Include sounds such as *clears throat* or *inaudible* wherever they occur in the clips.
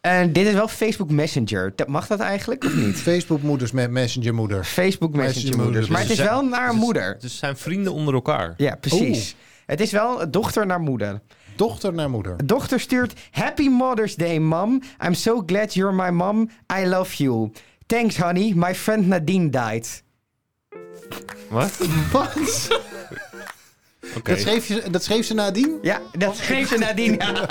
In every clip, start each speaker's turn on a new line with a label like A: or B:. A: En dit is wel Facebook Messenger. Dat, mag dat eigenlijk of niet?
B: Facebook moeders met Messenger
A: *clears throat*
B: moeder.
A: Facebook Messenger moeders.
B: moeders.
A: Maar het is
C: Dus-
A: wel naar
C: dus-
A: moeder.
C: Dus zijn vrienden onder elkaar.
A: Ja, precies. Het is wel dochter naar moeder.
B: Dochter naar moeder.
A: Dochter stuurt: Happy Mother's Day, mom. I'm so glad you're my mom. I love you. Thanks, honey. My friend Nadine died.
C: Wat?
B: Wat?
C: Oké.
B: Dat, schreef je, dat schreef ze nadien?
A: Ja, dat schreef ze *laughs* Nadine. Ja.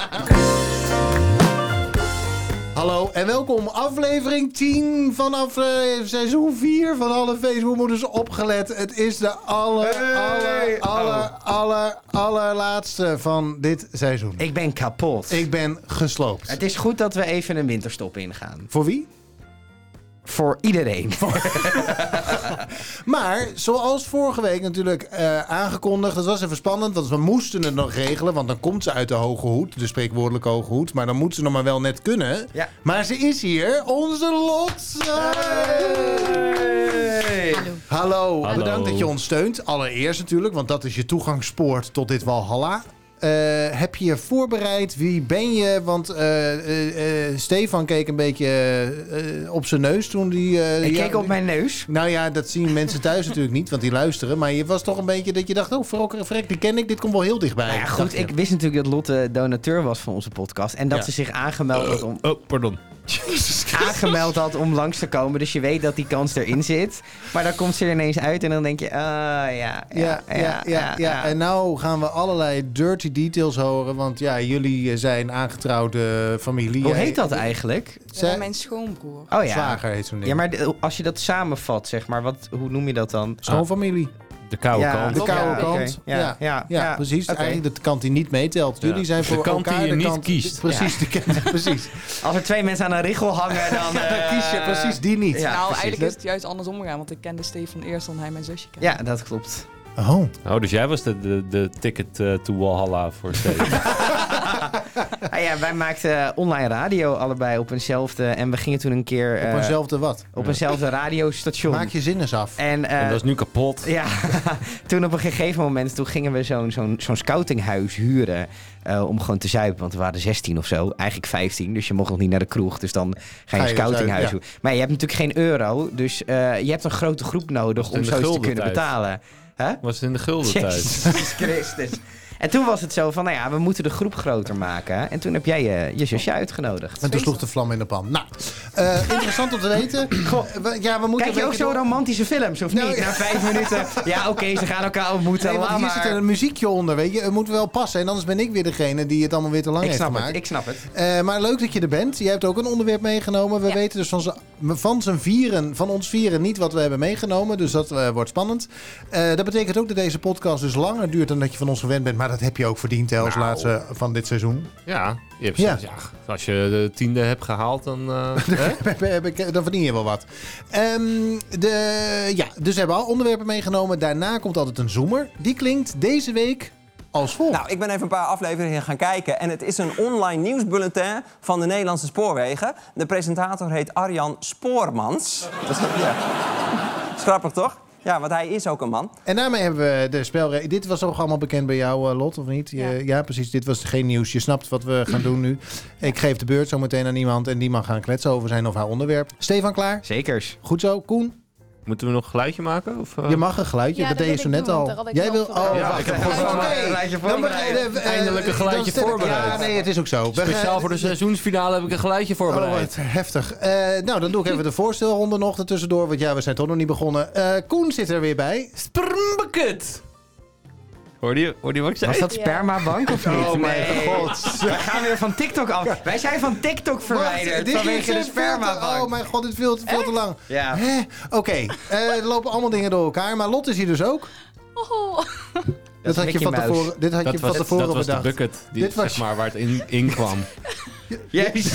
B: Hallo en welkom aflevering 10 vanaf eh, seizoen 4 van alle Facebookmoeders opgelet. Het is de aller,
A: Hey!
B: aller, aller, aller, allerlaatste van dit seizoen.
A: Ik ben kapot.
B: Ik ben gesloopt.
A: Het is goed dat we even een winterstop ingaan.
B: Voor wie?
A: Voor iedereen.
B: Maar zoals vorige week natuurlijk eh, aangekondigd, dat was even spannend, want we moesten het nog regelen, want dan komt ze uit de hoge hoed, de spreekwoordelijke hoge hoed, maar dan moet ze nog maar wel net kunnen.
A: Ja.
B: Maar ze is hier, onze Lot. Hallo,
C: Hallo.
B: bedankt dat je ons steunt. Allereerst natuurlijk, want dat is je toegangspoort tot dit Walhalla. Eh, heb je je voorbereid? Wie ben je? Want eh, eh, eh, Stefan keek een beetje eh, op zijn neus toen hij... eh,
A: Ik
B: ja,
A: keek op mijn neus.
B: nou ja, dat zien mensen thuis natuurlijk niet, want die luisteren. Maar je was toch een beetje dat je dacht, oh, verrokker, vrek, die ken ik. Dit komt wel heel dichtbij.
A: Nou ja,
B: dacht
A: goed,
B: je.
A: ik wist natuurlijk dat Lotte donateur was van onze podcast. En dat
B: Ja.
A: ze zich aangemeld had,
D: *laughs*
A: om,
C: Oh, pardon.
A: aangemeld had om langs te komen. Dus je weet dat die kans erin zit. Maar dan komt ze er ineens uit en dan denk je... Ah, ja, ja,
B: Ja, ja, ja, ja, En nou gaan we allerlei dirty details horen. Want ja, jullie eh, zijn aangetrouwde familie.
A: Hoe heet dat eigenlijk?
B: Zij-
E: Ja, mijn schoonbroer.
A: Oh ja.
B: Zwager heet zo'n ding.
A: Ja, maar de- als je dat samenvat, zeg maar, wat, hoe noem je dat dan?
B: Schoonfamilie.
C: De koude
A: Ja,
C: kant.
B: De koude
A: ja,
B: kant.
A: oké. Ja,
B: Ja,
A: ja,
B: ja,
A: ja.
B: precies.
A: Oké.
B: Eigenlijk de kant die niet meetelt.
C: Ja.
B: Jullie zijn
C: De
B: voor
C: kant die
B: elkaar
C: je
B: de
C: niet
B: kant...
C: kiest.
B: *laughs* Precies, de
A: *laughs*
B: kant, precies.
A: Als er twee mensen aan een richel
B: *laughs*
A: hangen, dan... eh,
B: kies je precies die niet.
A: ja,
E: nou,
A: precies.
E: eigenlijk is het juist andersom gegaan, want ik kende Stefan eerst dan hij mijn zusje kende.
A: Ja, dat klopt.
B: Oh.
C: Oh, dus jij was de, de, de ticket eh, to Walhalla
A: *laughs*
C: voor Steven.
A: Ah, ja, wij maakten online radio allebei op eenzelfde... En we gingen toen een keer eh,
B: Op eenzelfde wat?
A: op eenzelfde radiostation.
B: Maak je zin eens af.
A: En, eh,
C: en dat is nu kapot.
A: Ja, *laughs* toen op een gegeven moment toen gingen we zo'n zo'n zo'n scoutinghuis huren eh, om gewoon te zuipen. Want we waren 16 of zo, eigenlijk 15, dus je mocht nog niet naar de kroeg. Dus dan ga je
B: Ga
A: een
B: je
A: scoutinghuis
B: zuipen,
A: huren. Maar je hebt natuurlijk geen euro, dus eh, je hebt een grote groep nodig
C: het
A: om
C: in de
A: zoiets te
C: gulden
A: kunnen
C: tijd?
A: betalen.
C: Was het in de gulden tijd?
A: Jezus Christus. En toen was het zo van, nou ja, we moeten de groep groter maken. En toen heb jij eh, je, je zusje uitgenodigd.
B: En toen sloeg de vlam in de pan. Nou, eh, interessant om te
A: *clears throat*
B: weten. We- ja, we moeten
A: Kijk je
B: een
A: ook
B: beetje
A: zo
B: door-
A: romantische films, of niet?
B: Nou, ja.
A: Na vijf minuten, ja oké, ze gaan elkaar ontmoeten,
B: Nee, want
A: laat
B: hier
A: maar.
B: zit er een muziekje onder, weet je. Het moet wel passen. En anders ben ik weer degene die het allemaal weer te lang
A: Ik
B: heeft
A: snap
B: gemaakt.
A: het, ik snap het.
B: Eh, maar leuk dat je er bent. Je hebt ook een onderwerp meegenomen. We
E: Ja.
B: weten dus van, z'n- van z'n vieren, van ons vieren, niet wat we hebben meegenomen. Dus dat eh, wordt spannend. Eh, dat betekent ook dat deze podcast dus langer duurt dan dat je van ons gewend bent. Maar dat heb je ook verdiend hè, als
C: Nou.
B: laatste van dit seizoen.
C: Ja, je hebt
B: Ja.
C: ja. als je de tiende hebt gehaald, dan... eh,
A: *laughs*
B: *laughs*
C: hè?
B: Dan verdien je wel wat. Ehm, de, ja, dus we hebben al onderwerpen meegenomen. Daarna komt altijd een zoomer. Die klinkt deze week als volgt.
F: Nou, ik ben even een paar afleveringen gaan kijken. En het is een online nieuwsbulletin van de Nederlandse Spoorwegen. De presentator heet Arjan Spoormans. Dat is, ja. is grappig, toch? Ja, want hij is ook een man.
B: En daarmee hebben we de spelregels. Dit was toch allemaal bekend bij jou, eh, Lot, of niet? Je-
E: Ja.
B: ja. precies. Dit was geen nieuws. Je snapt wat we gaan doen nu. Ik geef de beurt zo meteen aan iemand en die mag gaan kletsen over zijn of haar onderwerp. Stefan, klaar?
A: Zekers.
B: Goed zo. Koen,
C: Moeten we nog een geluidje maken? Of, eh?
B: je mag een geluidje.
D: Ja,
B: dat
D: dat
B: deed je
D: wil
B: zo net
D: ik doen, want
B: al.
D: daar had ik
B: Jij
D: wel
B: wil...
D: voor
B: Oh,
C: Ja,
B: wacht.
C: ik heb
B: Oké.
C: gewoon
A: een geluidje
B: Dan begin-
A: voorbereid.
B: eh, eh,
C: Eindelijk een geluidje
B: dan stel ik-
C: voorbereid.
B: Ja, nee, het is ook zo. We gaan-
C: Speciaal voor de seizoensfinale heb ik een geluidje
B: Oh,
C: voorbereid.
B: wat heftig. Eh, nou, dan doe ik even de voorstelronde nog ertussendoor. Want ja, we zijn toch nog niet begonnen. Eh, Koen zit er weer bij.
C: Sprmbekut! Hoorde je, hoorde je wat ik zei?
A: Was dat
D: Ja.
A: spermabank of niet?
B: Oh mijn
A: Nee.
B: god.
A: We gaan weer van TikTok af. Wij zijn van Tiktok verwijderd
B: dit is
A: vanwege de
B: echt veel te-
A: spermabank.
B: Oh mijn god, dit is veel te, veel te lang.
A: Ja.
B: Hè? Oké, eh, er lopen allemaal dingen door elkaar. Maar Lot is hier dus ook.
D: Oh,
B: Dat, had je
A: Mickey
B: van
A: Mouse.
B: tevoren, dit had je van tevoren
C: dat was de
B: bedacht.
C: bucket die,
B: Dit was-
C: zeg maar, waar het in, in
A: *laughs*
C: kwam.
A: Jezus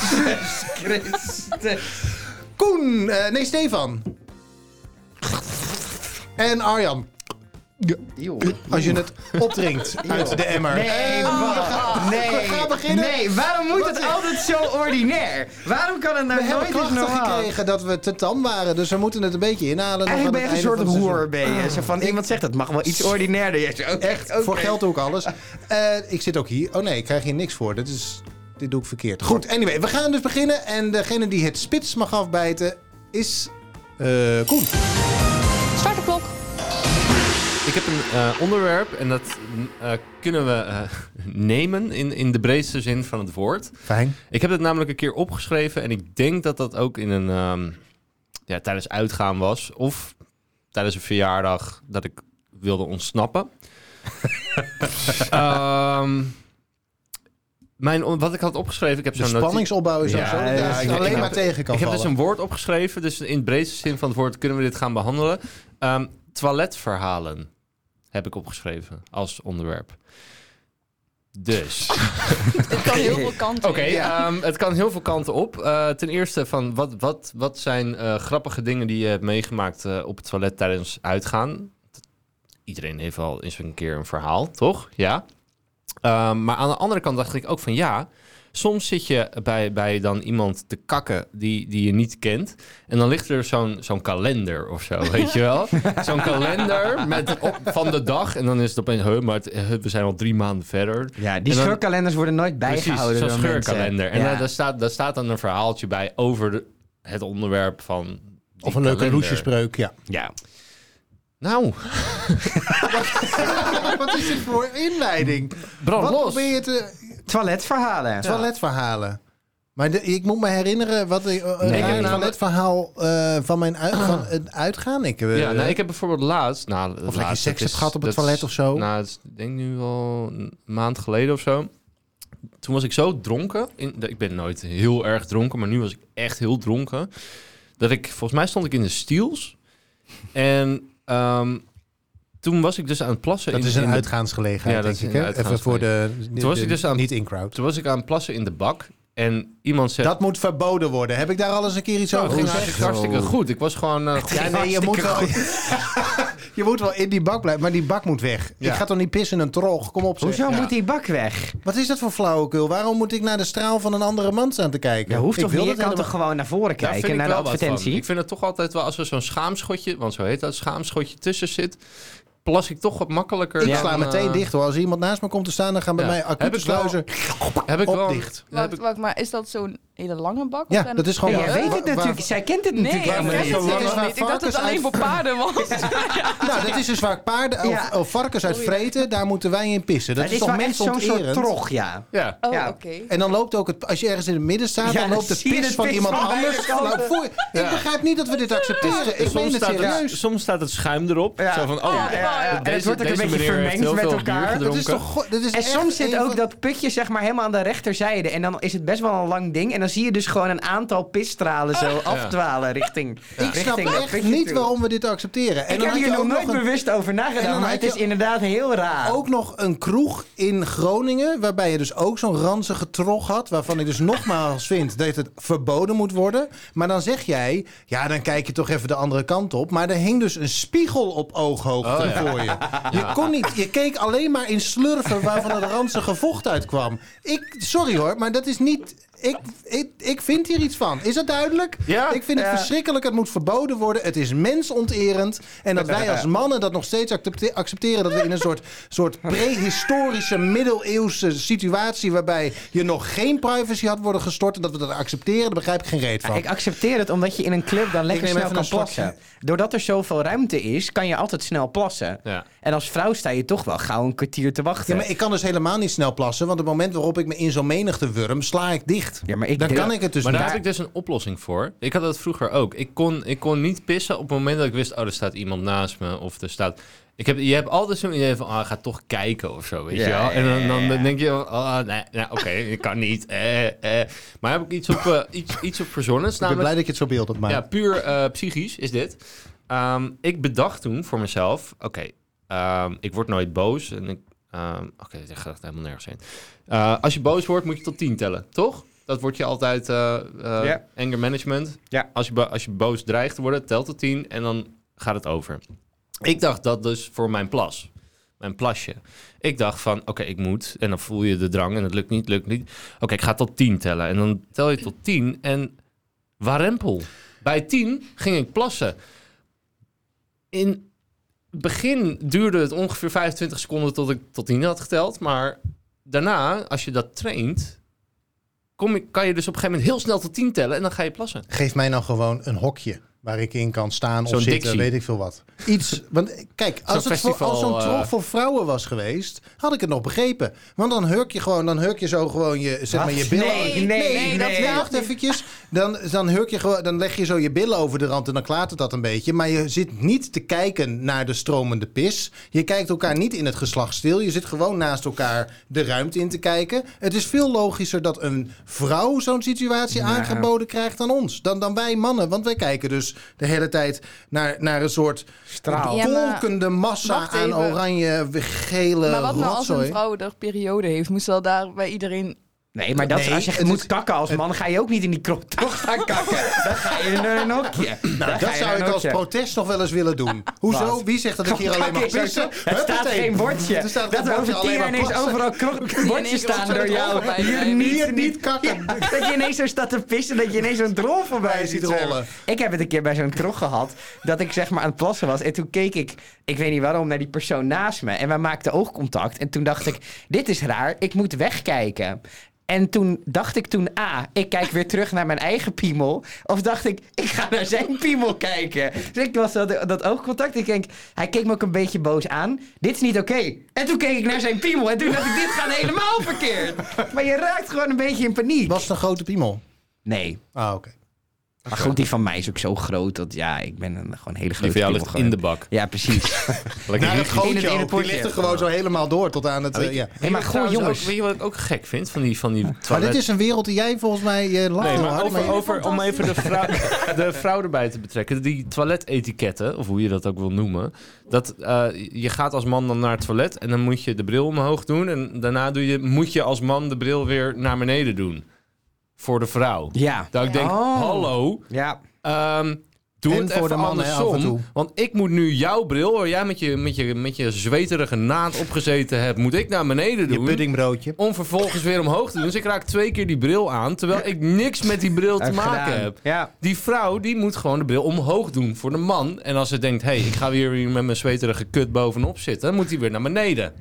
A: Christus.
B: Koen, eh, nee Stefan. En Arjan, als je het opdrinkt uit de emmer.
A: Nee,
B: Eh,
A: wacht. Nee.
B: we gaan beginnen.
A: Nee, waarom moet
B: Wat
A: het
B: is-
A: altijd *laughs* zo ordinair? Waarom kan het nou
B: We hebben
A: nooit eens
B: klachten
A: normaal?
B: gekregen dat we te tam waren, dus we moeten het een beetje inhalen. nog
A: Eigenlijk ben je
B: aan
A: een
B: het
A: soort
B: einde van het seizoen.
A: roer, ben je. Zo van, iemand zegt, dat mag wel iets ordinairder. Je zegt, oké,
B: Echt,
A: oké.
B: voor geld ook alles. Eh, ik zit ook hier. Oh nee, ik krijg hier niks voor. Dat is dit doe ik verkeerd. Goed, anyway, we gaan dus beginnen. En degene die het spits mag afbijten is eh Koen.
E: Start de klok.
D: Ik heb een eh, onderwerp en dat eh, kunnen we eh, nemen in, in de breedste zin van het woord.
B: Fijn.
D: Ik heb het namelijk een keer opgeschreven en ik denk dat dat ook in een, ehm, ja, tijdens uitgaan was of tijdens een verjaardag dat ik wilde ontsnappen. Ehm, mijn, on- wat ik had opgeschreven, ik heb
B: De
D: zo'n notitie-
B: spanningsopbouw is
D: Ja,
B: sowieso
A: ja,
B: dat
A: ja,
B: het
A: ik-
B: alleen
A: ik-
B: maar tegen kan
D: ik heb dus
B: vallen.
D: een woord opgeschreven, dus in het breedste zin van het woord kunnen we dit gaan behandelen. Ehm, toiletverhalen heb ik opgeschreven als onderwerp. Dus.
E: Het kan heel veel kanten.
D: Oké,
E: op.
D: ehm, het kan heel veel kanten op. Eh, ten eerste van wat, wat, wat zijn eh, grappige dingen die je hebt meegemaakt eh, op het toilet tijdens uitgaan? Iedereen heeft wel eens een keer een verhaal, toch? Ja. Ehm, maar aan de andere kant dacht ik ook van ja, soms zit je bij, bij dan iemand te kakken die, die je niet kent. En dan ligt er zo'n zo'n kalender of zo, weet je
A: *laughs*
D: wel? Zo'n kalender met op- van de dag. En dan is het opeens, huh, maar het- huh, we zijn al drie maanden verder.
A: Ja, die
D: En dan-
A: scheurkalenders worden nooit bijgehouden.
D: Precies,
A: door
D: zo'n
A: mensen.
D: scheurkalender. En
A: Ja.
D: daar, daar staat, daar staat dan een verhaaltje bij over de- het onderwerp van... die
B: Of een leuke
D: kalender.
B: loesjespreuk, ja.
A: Ja.
D: Nou,
B: Wat is dit voor inleiding?
D: brand
B: Wat
D: Oh, los.
B: probeer je te...
A: Toiletverhalen.
B: Toiletverhalen. Maar de- ik moet me herinneren wat ik, eh,
A: Nee,
B: een
A: ik heb-
B: toiletverhaal eh, van mijn
D: *clears throat*
B: uit, van het uitgaan. Ik, eh,
D: Ja, nou, ik heb bijvoorbeeld laatst... Nou,
B: of dat je
D: laatst,
B: seks
D: dat
B: hebt
D: is-
B: gehad op het
D: dat is-
B: toilet of zo.
D: Nou, het is, ik denk nu al een maand geleden of zo. Toen was ik zo dronken. In, ik ben nooit heel erg dronken, maar nu was ik echt heel dronken. Dat ik, volgens mij stond ik in de Stiels. En ehm, toen was ik dus aan het plassen.
B: dat
D: in,
B: is een
D: in de
B: uitgaansgelegenheid,
D: Ja, dat is
B: denk ik.
D: een
B: hè? Even voor de,
D: Toen was ik dus aan-
B: niet in crowd.
D: Toen was ik aan het plassen in de bak. En iemand zegt...
B: Dat moet verboden worden. Heb ik daar al eens een keer iets
D: Zo,
B: over
D: ging
B: gezegd?
D: eigenlijk hartstikke goed. Ik was gewoon... eh, goed.
B: Ja, nee, je moet, wel, *laughs* je moet wel in die bak blijven, maar die bak moet weg.
D: Ja.
B: Ik ga toch niet pissen in een trog? Kom op, zeg.
A: Hoezo
D: Ja.
A: moet die bak weg?
B: Wat is dat voor flauwekul? Waarom moet ik naar de straal van een andere man staan te kijken?
A: Ja, hoeft
B: ik
A: toch
B: wil
A: niet? Je
B: dat
A: kan toch
B: helemaal-
A: gewoon naar voren
D: Daar vind
A: kijken,
D: ik
A: naar de
D: wel wat van.
A: advertentie?
D: Ik vind het toch altijd wel... Als er zo'n schaamschotje... Want zo heet dat, schaamschotje tussen zit... Plas ik toch wat makkelijker.
B: Ik
D: dan,
B: sla
D: eh,
B: meteen dicht hoor. Als iemand naast me komt te staan, dan gaan bij
D: Ja.
B: mij
D: Heb
B: acute
D: ik wel-
B: sluizen
D: Heb ik
B: op
D: wel...
B: dicht.
D: Heb
E: Wacht,
D: ik,
E: wacht, maar is dat zo'n hele lange bak? of
B: Ja,
E: zijn Oh,
B: dat is gewoon
A: Oh, Ja,
B: waar-
A: jij weet het
B: waar-
A: natuurlijk. Zij kent het
E: Nee, ik
A: natuurlijk helemaal
E: ken
A: niet.
E: het
B: Zo lang
E: serieus
B: waar
E: niet. Ik dacht dat
B: varkens
E: het alleen voor paarden was.
B: Nou, dat is dus vaak paarden of,
A: Ja.
B: of varkens uit vreten. Daar moeten wij in pissen. Dat
A: Het
B: is
A: wel
B: toch
A: echt zo'n soort
B: mensonterend?
A: trog, ja.
D: ja.
E: Oh,
A: Ja.
E: oké.
B: En dan loopt ook het, als je ergens in het midden staat,
A: Ja,
B: dan loopt de
A: zie je
B: pis
A: de
B: van
A: pis
B: iemand
A: van beide
B: anders.
A: kanten.
B: Nou, voel je- Ik begrijp niet dat we dit accepteren. Ik meen
C: soms,
B: het
C: staat het,
B: serieus.
C: soms staat het schuim erop.
A: Ja.
C: Zo van, oh,
A: Ja, ja, ja. En het
C: deze-
A: wordt ook een
C: deze
A: beetje
C: meneer heeft
A: vermengd
C: heel
A: met
C: veel bier
A: elkaar.
B: Dat
C: gedronken.
B: is toch go- dat is
A: En
B: echt
A: soms zit
B: een
A: ook
B: van-
A: dat putje zeg maar helemaal aan de rechterzijde. En dan is het best wel een lang ding. En dan zie je dus gewoon een aantal pisstralen zo afdwalen richting
B: Ah. Ik snap
A: richting dat
B: echt
A: putje
B: niet
A: toe.
B: waarom we dit accepteren. En
A: Ik
B: dan
A: heb
B: had
A: hier
B: je
A: nog
B: ook
A: nooit
B: een-
A: bewust over
B: En dan
A: nagedaan, maar
B: had
A: het
B: je
A: is inderdaad heel raar.
B: ook nog een kroeg in Groningen. Waarbij je dus ook zo'n ranzige trog had. Waarvan ik dus *laughs* nogmaals vind dat het verboden moet worden. Maar dan zeg jij. Ja, dan kijk je toch even de andere kant op. Maar er hing dus een spiegel op ooghoogte voor je. Je, kon niet, je keek alleen maar in slurven waarvan het ranzige vocht uitkwam. Ik, sorry hoor, maar dat is niet. Ik, ik, ik vind hier iets van. Is dat duidelijk?
D: Ja.
B: Ik vind het
A: Ja.
B: verschrikkelijk. Het moet verboden worden. Het is mensonterend. En dat wij als mannen dat nog steeds accepte- accepteren. Dat we in een soort, soort prehistorische, middeleeuwse situatie. waarbij je nog geen privacy had worden gestort. en dat we dat accepteren, daar begrijp ik geen reet
A: Ja,
B: van.
A: ik accepteer het omdat je in een club dan lekker
B: neem
A: snel
B: even
A: kan
B: een slokje.
A: plassen. Doordat er zoveel ruimte is, kan je altijd snel plassen.
D: Ja.
A: En als vrouw sta je toch wel gauw een kwartier te wachten.
B: Ja, maar ik kan dus helemaal niet snel plassen. Want op het moment waarop ik me in zo'n menigte wurm, sla ik dicht.
A: Ja, maar ik
B: dan
A: deel-
B: kan ik het dus
D: maar daar
B: niet.
D: heb ik dus een oplossing voor. Ik had dat vroeger ook. Ik kon, ik kon niet pissen op het moment dat ik wist... oh, er staat iemand naast me of er staat... Ik heb, je hebt altijd zo'n idee van, ah, ga toch kijken of zo, weet
A: Ja,
D: je wel. En dan, dan
A: ja, ja.
D: denk je, van, ah, nee, nee, oké, ik kan niet. Eh, eh. Maar heb ik iets op, eh, iets, iets op verzonnen?
B: Ik ben
D: Namelijk-
B: blij dat je het zo beeld maakt.
D: Ja, puur eh, psychisch is dit. Ehm, ik bedacht toen voor mezelf: oké, ehm, ik word nooit boos. En ik, ehm, oké, dit gaat echt helemaal nergens heen. Eh, als je boos wordt, moet je tot 10 tellen, toch? Dat wordt je altijd eh, eh,
A: Ja.
D: anger management.
A: Ja.
D: Als, je bo- als je boos dreigt te worden, telt tot 10 en dan gaat het over. Ik dacht dat dus voor mijn plas. Mijn plasje. Ik dacht van, oké, ik moet. En dan voel je de drang en het lukt niet, lukt niet. Oké, ik ga tot 10 tellen. En dan tel je tot 10 en warempel. Bij 10 ging ik plassen. In het begin duurde het ongeveer 25 seconden tot ik tot 10 had geteld. Maar daarna, als je dat traint, kom je, kan je dus op een gegeven moment heel snel tot tien tellen en dan ga je plassen.
B: Geef mij nou gewoon een hokje waar ik in kan staan of
D: Zo'n
B: zitten,
D: Dixie.
B: weet ik veel wat. Iets, want eh, kijk, als,
D: Zo'n
B: het voor,
D: festival,
B: als zo'n
D: eh.
B: trog voor vrouwen was geweest, had ik het nog begrepen. Want dan hurk je gewoon, dan hurk je zo gewoon je, zeg maar je billen.
A: Nee, nee, nee,
B: dat
A: nee.
B: nee, wacht eventjes. Dan, dan hurk je gewoon, dan leg je zo je billen over de rand en dan klaart het dat een beetje. Maar je zit niet te kijken naar de stromende pis. Je kijkt elkaar niet in het geslacht stil. Je zit gewoon naast elkaar de ruimte in te kijken. Het is veel logischer dat een vrouw zo'n situatie
A: Nou.
B: aangeboden krijgt dan ons. Dan, dan wij mannen. Want wij kijken dus de hele tijd naar, naar een soort
A: Straal.
E: Ja, maar-
B: kolkende massa
E: Wacht
B: aan
E: even.
B: oranje, gele
E: maar wat nou als een
B: rotzooi.
E: vrouw er periode heeft? Moest wel daar bij iedereen...
A: Nee, maar dat,
B: Nee,
A: als je echt
B: het
A: moet
B: is-
A: kakken als man, ga je ook niet in die krop *laughs* toch gaan kakken. Dan ga je naar een hokje.
B: Nou, dat zou ik als protest nog wel eens willen doen. Hoezo?
A: Wat?
B: Wie zegt dat ik hier alleen mag pissen?
A: Er staat
B: Huppatee.
A: geen bordje.
B: Er staat geen
A: dat er
B: bordje,
A: over tien jaar
B: alleen maar
A: ineens
B: plassen.
A: overal kro-
E: je
A: bordjes
E: ineens
A: staan
E: rotzooi
A: door
E: er
A: jou.
E: overheen
A: Hier
E: rijden.
A: niet,
B: Hier niet
A: niet
B: kakken.
A: *laughs* Dat je ineens zo staat te pissen, dat je ineens zo'n drol voorbij
B: Bij
A: ziet
B: ziet rollen.
A: rollen. Ik heb het een keer bij zo'n trog gehad, dat ik zeg maar aan het plassen was. En toen keek ik, ik weet niet waarom, naar die persoon naast me. En wij maakten oogcontact. En toen dacht ik, dit is raar, ik moet wegkijken. En toen dacht ik toen, ah, ik kijk weer terug naar mijn eigen piemel. Of dacht ik, ik ga naar zijn piemel kijken. Dus ik was dat, dat oogcontact. Ik denk, hij keek me ook een beetje boos aan. Dit is niet oké. En toen keek ik naar zijn piemel. En toen dacht ik, dit gaat helemaal verkeerd. Maar je raakt gewoon een beetje in paniek.
B: Was het een grote piemel?
A: Nee,
B: Ah, oké.
A: maar goed, die van mij is ook zo groot dat ja, ik ben een, gewoon een hele
D: *laughs* Die
A: grote
D: van
A: piemel
D: jou ligt in de
A: geworden.
D: bak.
A: Ja,
D: *laughs*
A: precies.
D: Lekker
B: Naar het
D: rigide.
A: In het- in
B: gootje
A: het
B: ook. Die
A: potje.
B: ligt er gewoon zo helemaal door tot aan het... eh, ja.
A: Hey, maar goh,
D: Trouwens ook,
A: jongens.
D: weet je wat ik ook gek vind van die, van die
B: Maar
D: toilet?
B: dit is een wereld die jij volgens mij eh lacht
D: Nee,
B: heel
D: maar
B: hard,
D: over,
B: maar-
D: over, om even de vrouw, *laughs* de vrouw erbij te betrekken. Die toiletetiketten, of hoe je dat ook wil noemen. Dat, eh, je gaat als man dan naar het toilet en dan moet je de bril omhoog doen. En daarna doe je, moet je als man de bril weer naar beneden doen. Voor de vrouw.
A: Ja.
D: Dat ik denk,
A: Oh.
D: hallo,
A: Ja.
D: ehm, doe
B: En
D: het
B: voor
D: even
B: de mannen, hè, af en toe.
D: andersom. Want ik moet nu jouw bril, waar jij met je, met je, met je zweterige naad opgezeten hebt, moet ik naar beneden
B: Je
D: doen
B: puddingbroodje.
D: om vervolgens weer omhoog te doen. Dus ik raak twee keer die bril aan, terwijl ik niks met die bril te
A: Heb
D: maken
A: gedaan.
D: heb.
A: Ja.
D: Die vrouw die moet gewoon de bril omhoog doen voor de man. En als ze denkt, hé, hey, ik ga weer hier met mijn zweterige kut bovenop zitten, dan moet hij weer naar beneden.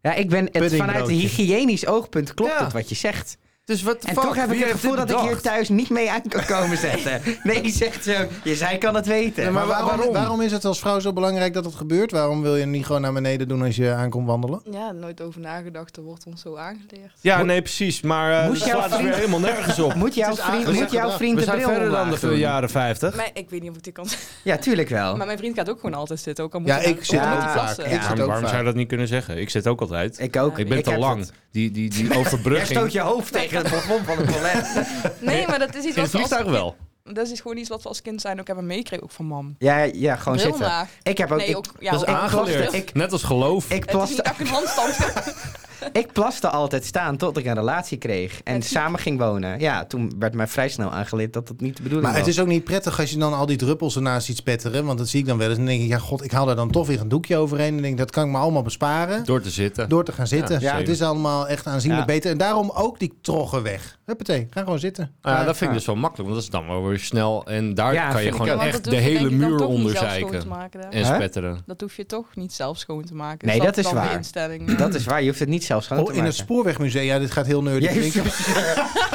A: ja, ik ben het,
B: Puddingbroodje.
A: vanuit een hygiënisch oogpunt klopt
D: Ja.
A: het wat je zegt.
D: Dus wat de
A: En
D: fuck,
A: toch heb
D: wie
A: ik het
D: heeft
A: gevoel
D: dit
A: dat ik hier
D: bedacht?
A: thuis niet mee aan kan komen zetten.
D: *laughs*
A: Nee, je zegt zo, je zij kan het weten.
B: maar
A: Maar
B: waarom, waarom? is het als vrouw zo belangrijk dat het gebeurt? Waarom wil je niet gewoon naar beneden doen als je aankomt wandelen?
E: Ja, nooit over nagedacht. Er wordt ons zo aangeleerd.
C: Ja, nee, precies. Maar eh
A: Moest
C: dat
A: jouw
C: slaat dus
A: vriend-
C: weer helemaal nergens op.
A: moet jouw
B: Het is
A: vriend,
B: aangezegd
A: moet jouw
B: gedrag.
A: vriend
D: We
A: de
D: zijn
A: bril
D: verder dan
A: omlaag
D: de
A: doen?
D: jaren 50.
E: Maar ik weet niet of ik dit kan zeggen.
A: Ja, tuurlijk wel.
E: Maar mijn vriend gaat ook gewoon altijd zitten. Ook al moet
B: Ja,
E: hij
B: ik
E: dan-
B: zit
E: ook al moet
B: ook
E: hij
B: vaak.
E: plassen.
B: Ik zit
D: waarom
B: ook
D: zou je
B: vaak.
D: dat niet kunnen zeggen? Ik zit ook altijd. Ik,
A: Ik ook.
D: ben te
A: heb
D: lang.
A: het.
D: Die, die, die
A: *laughs* Jij
D: overbrugging.
A: stoot je hoofd tegen het plafond van het toilet.
E: Nee, maar dat is iets
D: In het
E: wat we als,
D: vliegtuig wel.
E: dat is gewoon iets wat we als kind zijn ook hebben meegekregen. Ook van mam.
A: Ja, ja, gewoon
E: Bril
A: zitten.
E: omlaag.
A: Ik heb ook...
E: Nee,
A: ik- dus-
E: ook, ja,
D: dat is
E: ook-
D: aangeleerd.
A: ik-
D: Net als geloof.
A: Ik
E: Het is niet
A: plaste,
E: dat ik een handstand
D: *laughs*
E: heb.
A: ik plaste altijd staan tot ik een relatie kreeg en
E: Het-
A: samen ging wonen. Ja, toen werd mij vrij snel aangeleerd dat dat niet de bedoeling
B: Maar het
A: was.
B: is ook niet prettig als je dan al die druppels ernaast ziet spetteren. Want dat zie ik dan wel eens. En dan denk ik, ja god, ik haal daar dan toch weer een doekje overheen. En denk, dat kan ik me allemaal besparen.
D: door te zitten.
B: Door te gaan zitten.
D: Ja,
B: Ja, het
D: zeker.
B: is allemaal echt aanzienlijk
A: Ja.
B: beter. En daarom ook die troggen weg. Huppatee, ga gewoon zitten.
D: Ah,
B: Maar-
D: dat vind ik
B: ja.
D: dus wel makkelijk, want dat is dan wel weer snel. En daar
A: Ja,
D: kan je
A: vind ik
D: gewoon
A: ook.
D: echt de
E: dus
D: hele muur onder zeiken. En
A: Hè?
D: spetteren.
E: Dat hoef je toch niet zelf schoon te maken.
A: Nee,
E: Dus
A: dat is
E: dan de
A: waar.
E: Instelling.
A: Dat is waar, je hoeft het niet zelf schoon te
B: Oh, in
A: maken.
B: het spoorwegmuseum. Ja, dit gaat heel nerdy
A: Jezus.
B: klinken.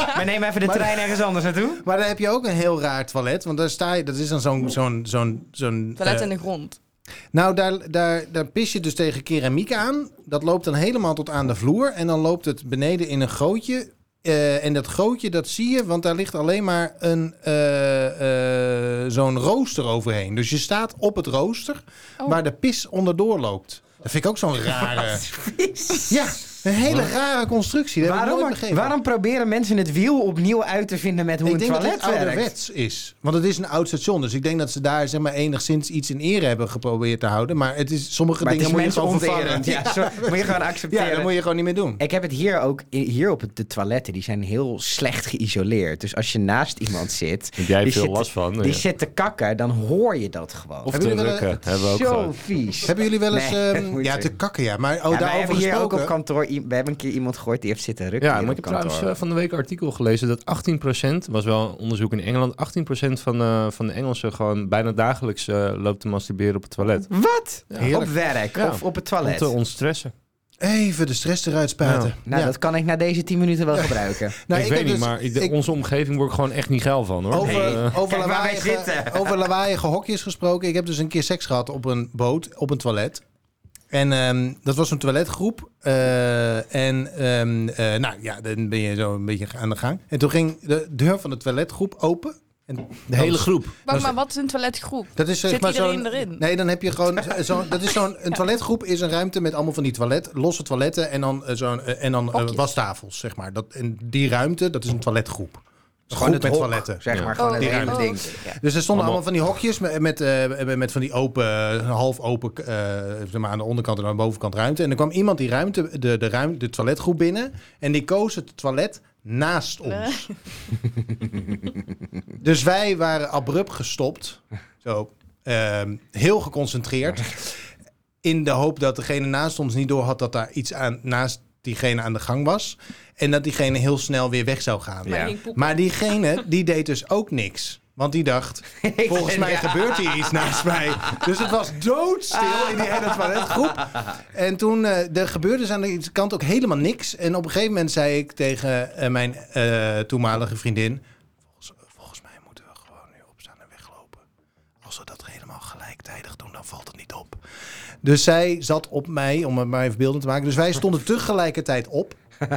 A: *laughs* maar neem even de
B: Maar-
A: trein ergens anders naartoe.
B: Maar daar heb je ook een heel raar toilet. Want daar sta je, dat is dan zo'n... zo'n zo'n zo'n
E: *laughs* Toilet
B: eh,
E: in de grond.
B: Nou, daar, daar, daar pis je dus tegen keramiek aan. Dat loopt dan helemaal tot aan de vloer. En dan loopt het beneden in een gootje. Eh, en dat gootje, dat zie je, want daar ligt alleen maar een, eh, eh, zo'n rooster overheen. Dus je staat op het rooster
E: Oh.
B: waar de pis onderdoor loopt. Dat vind ik ook zo'n rare... ja, een hele rare constructie. Dat heb ik nooit
A: Waarom,
B: begrepen.
A: waarom proberen mensen het wiel opnieuw uit te vinden met hoe
B: ik
A: een
B: denk dat het
A: toilet werkt?
B: ouderwets is. Want het is een oud station. Dus ik denk dat ze daar zeg maar, enigszins iets in ere hebben geprobeerd te houden. Maar het is, sommige
A: Maar het
B: dingen
A: is
B: moet je
A: mensen
B: gewoon vervangen.
A: onterend. Ja, sorry, moet je gewoon accepteren.
B: *laughs* Ja, dat moet je gewoon niet meer doen.
A: Ik heb het hier ook, hier op het- de toiletten, die zijn heel slecht geïsoleerd. Dus als je naast iemand zit,
D: Jij hebt
A: Die
D: veel
A: zit-
D: last van.
A: die
D: ja.
A: zit te kakken, dan hoor je dat gewoon.
D: Of
B: Hebben
D: te
B: jullie wel
D: rukken. Hebben we ook
A: Zo
D: gehad.
A: vies.
B: Hebben jullie wel eens...
A: Nee,
B: ehm,
A: moeite.
B: ja, te kakken, ja. Maar oh,
A: Ja, wij
B: daarover
A: hebben hier ook
B: gesproken...
A: op kantoor, i- we hebben een keer iemand gehoord die heeft zitten rukken.
D: Ja,
A: hier
D: maar ik
A: op
D: heb
A: kantoor.
D: trouwens eh, van de week een artikel gelezen dat 18%, was wel een onderzoek in Engeland, 18% van, eh, van de Engelsen gewoon bijna dagelijks eh, loopt te masturberen op het toilet.
A: Wat?
D: Ja.
B: Heerlijk.
A: Op werk
D: Ja.
A: of op het
D: Om
A: toilet?
D: te ontstressen.
B: Even de stress eruit spuiten.
A: Nou, dat kan ik na deze 10 minuten wel gebruiken.
B: Nou,
D: ik,
B: heb
D: weet niet,
B: dus-
D: maar ik- de-
B: ik-
D: onze omgeving word ik gewoon echt niet geil van, hoor.
B: Over,
D: Eh,
B: over,
A: Kijk waar wij
B: lawaaiige,
A: zitten. *laughs*
B: over lawaaiige hokjes gesproken. Ik heb dus een keer seks gehad op een boot, op een toilet. En ehm, dat was een toiletgroep. Eh, en ehm, eh, nou ja, dan ben je zo een beetje aan de gang. En toen ging de deur van de toiletgroep open. En
D: de hele groep.
B: Dat
E: Maar,
B: is-
E: maar wat is een toiletgroep?
B: Dat is, zeg
E: Zit
B: maar
E: iedereen
B: zo'n-
E: erin?
B: Nee, dan heb je
E: *laughs*
B: gewoon zo- zo'n. Dat is zo'n. Een toiletgroep is een ruimte met allemaal van die toilet, losse toiletten en dan eh, zo'n eh, en dan eh,
E: Hokjes.
B: wastafels, zeg maar. Dat en die ruimte, dat is een toiletgroep. Gewoon
A: Goed
B: het met
A: hok,
B: toiletten.
A: Zeg
D: Ja.
A: maar, gewoon
E: Oh,
A: het
E: die
A: hele
E: ruimte.
A: ding.
B: Dus er stonden allemaal van die hokjes met, met, eh, met van die open, half open, eh, zeg maar aan de onderkant en aan de bovenkant ruimte. En dan kwam iemand die ruimte, de, de, ruimte, de toiletgroep binnen en die koos het toilet naast ons. dus wij waren abrupt gestopt, zo, ehm, heel geconcentreerd, in de hoop dat degene naast ons niet door had dat daar iets aan, naast diegene aan de gang was. En dat diegene heel snel weer weg zou gaan.
A: Ja.
B: Maar diegene, die deed dus ook niks. Want die dacht, *laughs* volgens mij gebeurt hier iets naast mij. Dus het was doodstil in die hele toiletgroep. En toen eh, er gebeurde dus aan de kant ook helemaal niks. En op een gegeven moment zei ik tegen eh, mijn eh, toenmalige vriendin... Volgens, volgens mij moeten we gewoon nu opstaan en weglopen. Als we dat helemaal gelijktijdig doen, dan valt het niet op. Dus zij zat op mij, om het maar even beelden te maken. Dus wij stonden tegelijkertijd op.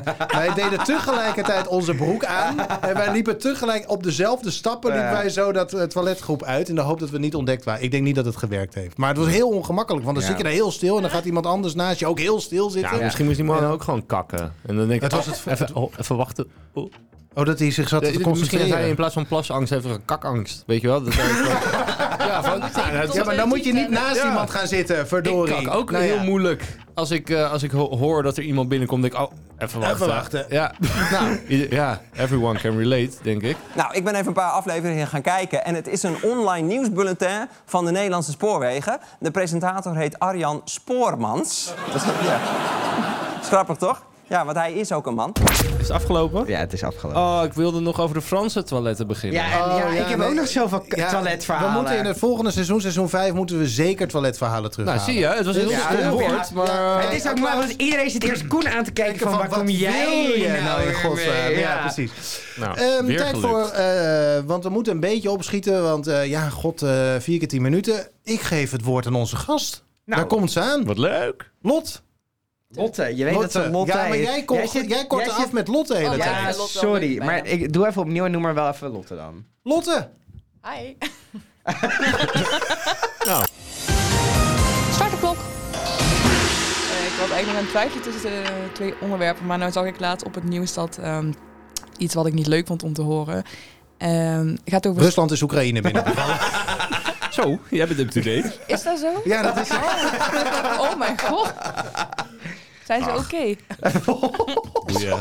D: *laughs*
B: Wij deden tegelijkertijd onze broek aan. En wij liepen tegelijk op dezelfde stappen. Liepen
A: Ja.
B: wij zo dat eh, toiletgroep uit. In de hoop dat we niet ontdekt waren. Ik denk niet dat het gewerkt heeft. Maar het was heel ongemakkelijk. Want dan
A: Ja.
B: zit je daar heel stil. En dan gaat iemand anders naast je ook heel stil
D: Ja,
B: zitten.
D: misschien moest die man ook gewoon kakken. En dan denk ik,
B: Het was
D: oh,
B: het-
D: even, oh, even wachten. Oh.
B: Oh, dat hij zich zat
D: Ja,
B: te
D: misschien heeft hij in
B: concentreren.
D: plaats van plasangst even een kakangst. Weet je wel? Dat hij *laughs* gewoon- ja, van, nou, dat-
B: Ja, maar dan moet je niet naast
D: Ja.
B: iemand gaan zitten.
D: ik
B: Verdorie.
D: kak ook
B: Nou ja.
D: heel moeilijk. Als ik, eh, als ik ho- hoor dat er iemand binnenkomt, denk ik, oh, even wachten.
B: wachten.
D: Ja, *laughs* nou, i- ja, everyone can relate, denk ik.
F: Nou, ik ben even een paar afleveringen gaan kijken. En het is een online nieuwsbulletin van de Nederlandse Spoorwegen. De presentator heet Arjan Spoormans. Dat is, ja. is grappig, toch? Ja, want hij is ook een man.
D: Is het afgelopen?
A: Ja, het is afgelopen.
D: Oh, ik wilde nog over de Franse toiletten beginnen.
A: Ja, en, ja,
B: Oh,
A: ik heb
B: nee.
A: ook nog zoveel k-
B: Ja,
A: toiletverhalen.
B: We moeten in het volgende seizoen, seizoen 5, moeten we zeker toiletverhalen
D: nou,
B: terughalen.
D: zie je, het was een heel
B: Ja,
D: stom
B: ja,
D: woord,
B: ja.
D: maar... eh,
A: Het is ook maar, want iedereen zit eerst Koen aan te kijken van,
B: Van,
A: waar
B: wat
A: kom jij
B: wil je
A: nou,
B: nou in
A: weer
B: godsnaam?
A: mee?
B: Ja,
A: Ja.
B: precies.
D: nou,
B: Ehm,
D: weer
B: tijd
D: gelukt.
B: voor, eh, want we moeten een beetje opschieten. Want eh, ja, god, eh, vier keer tien minuten. Ik geef het woord aan onze gast.
A: Nou.
B: Daar komt ze aan.
D: Wat leuk.
B: Lot.
A: Lotte, je weet dat
B: Lotte.
A: ze Lotte
B: ja, maar
A: is.
B: jij, komt
A: zit-
B: jij kort
A: jij
B: af
A: zit-
B: met Lotte de hele
E: Oh,
B: tijd.
E: ja.
A: Ja,
E: tijd. Lotte al
A: sorry,
E: bijna.
A: maar ik doe even opnieuw en noem maar wel even Lotte dan.
B: Lotte.
D: *laughs*
E: Hi.
D: Nou.
E: Start de klok. Eh, ik was eigenlijk nog aan het twijfelen tussen de twee onderwerpen. Maar nou zag ik laatst op het nieuws dat ehm, iets wat ik niet leuk vond om te horen. Ehm gaat over...
B: Rusland is Oekraïne binnen.
D: Zo, jij bent *laughs* up-to-date.
E: Is dat zo?
B: *laughs* ja, dat is
E: *laughs* Oh mijn god. Zijn ze oké?
D: Oh, Goeie.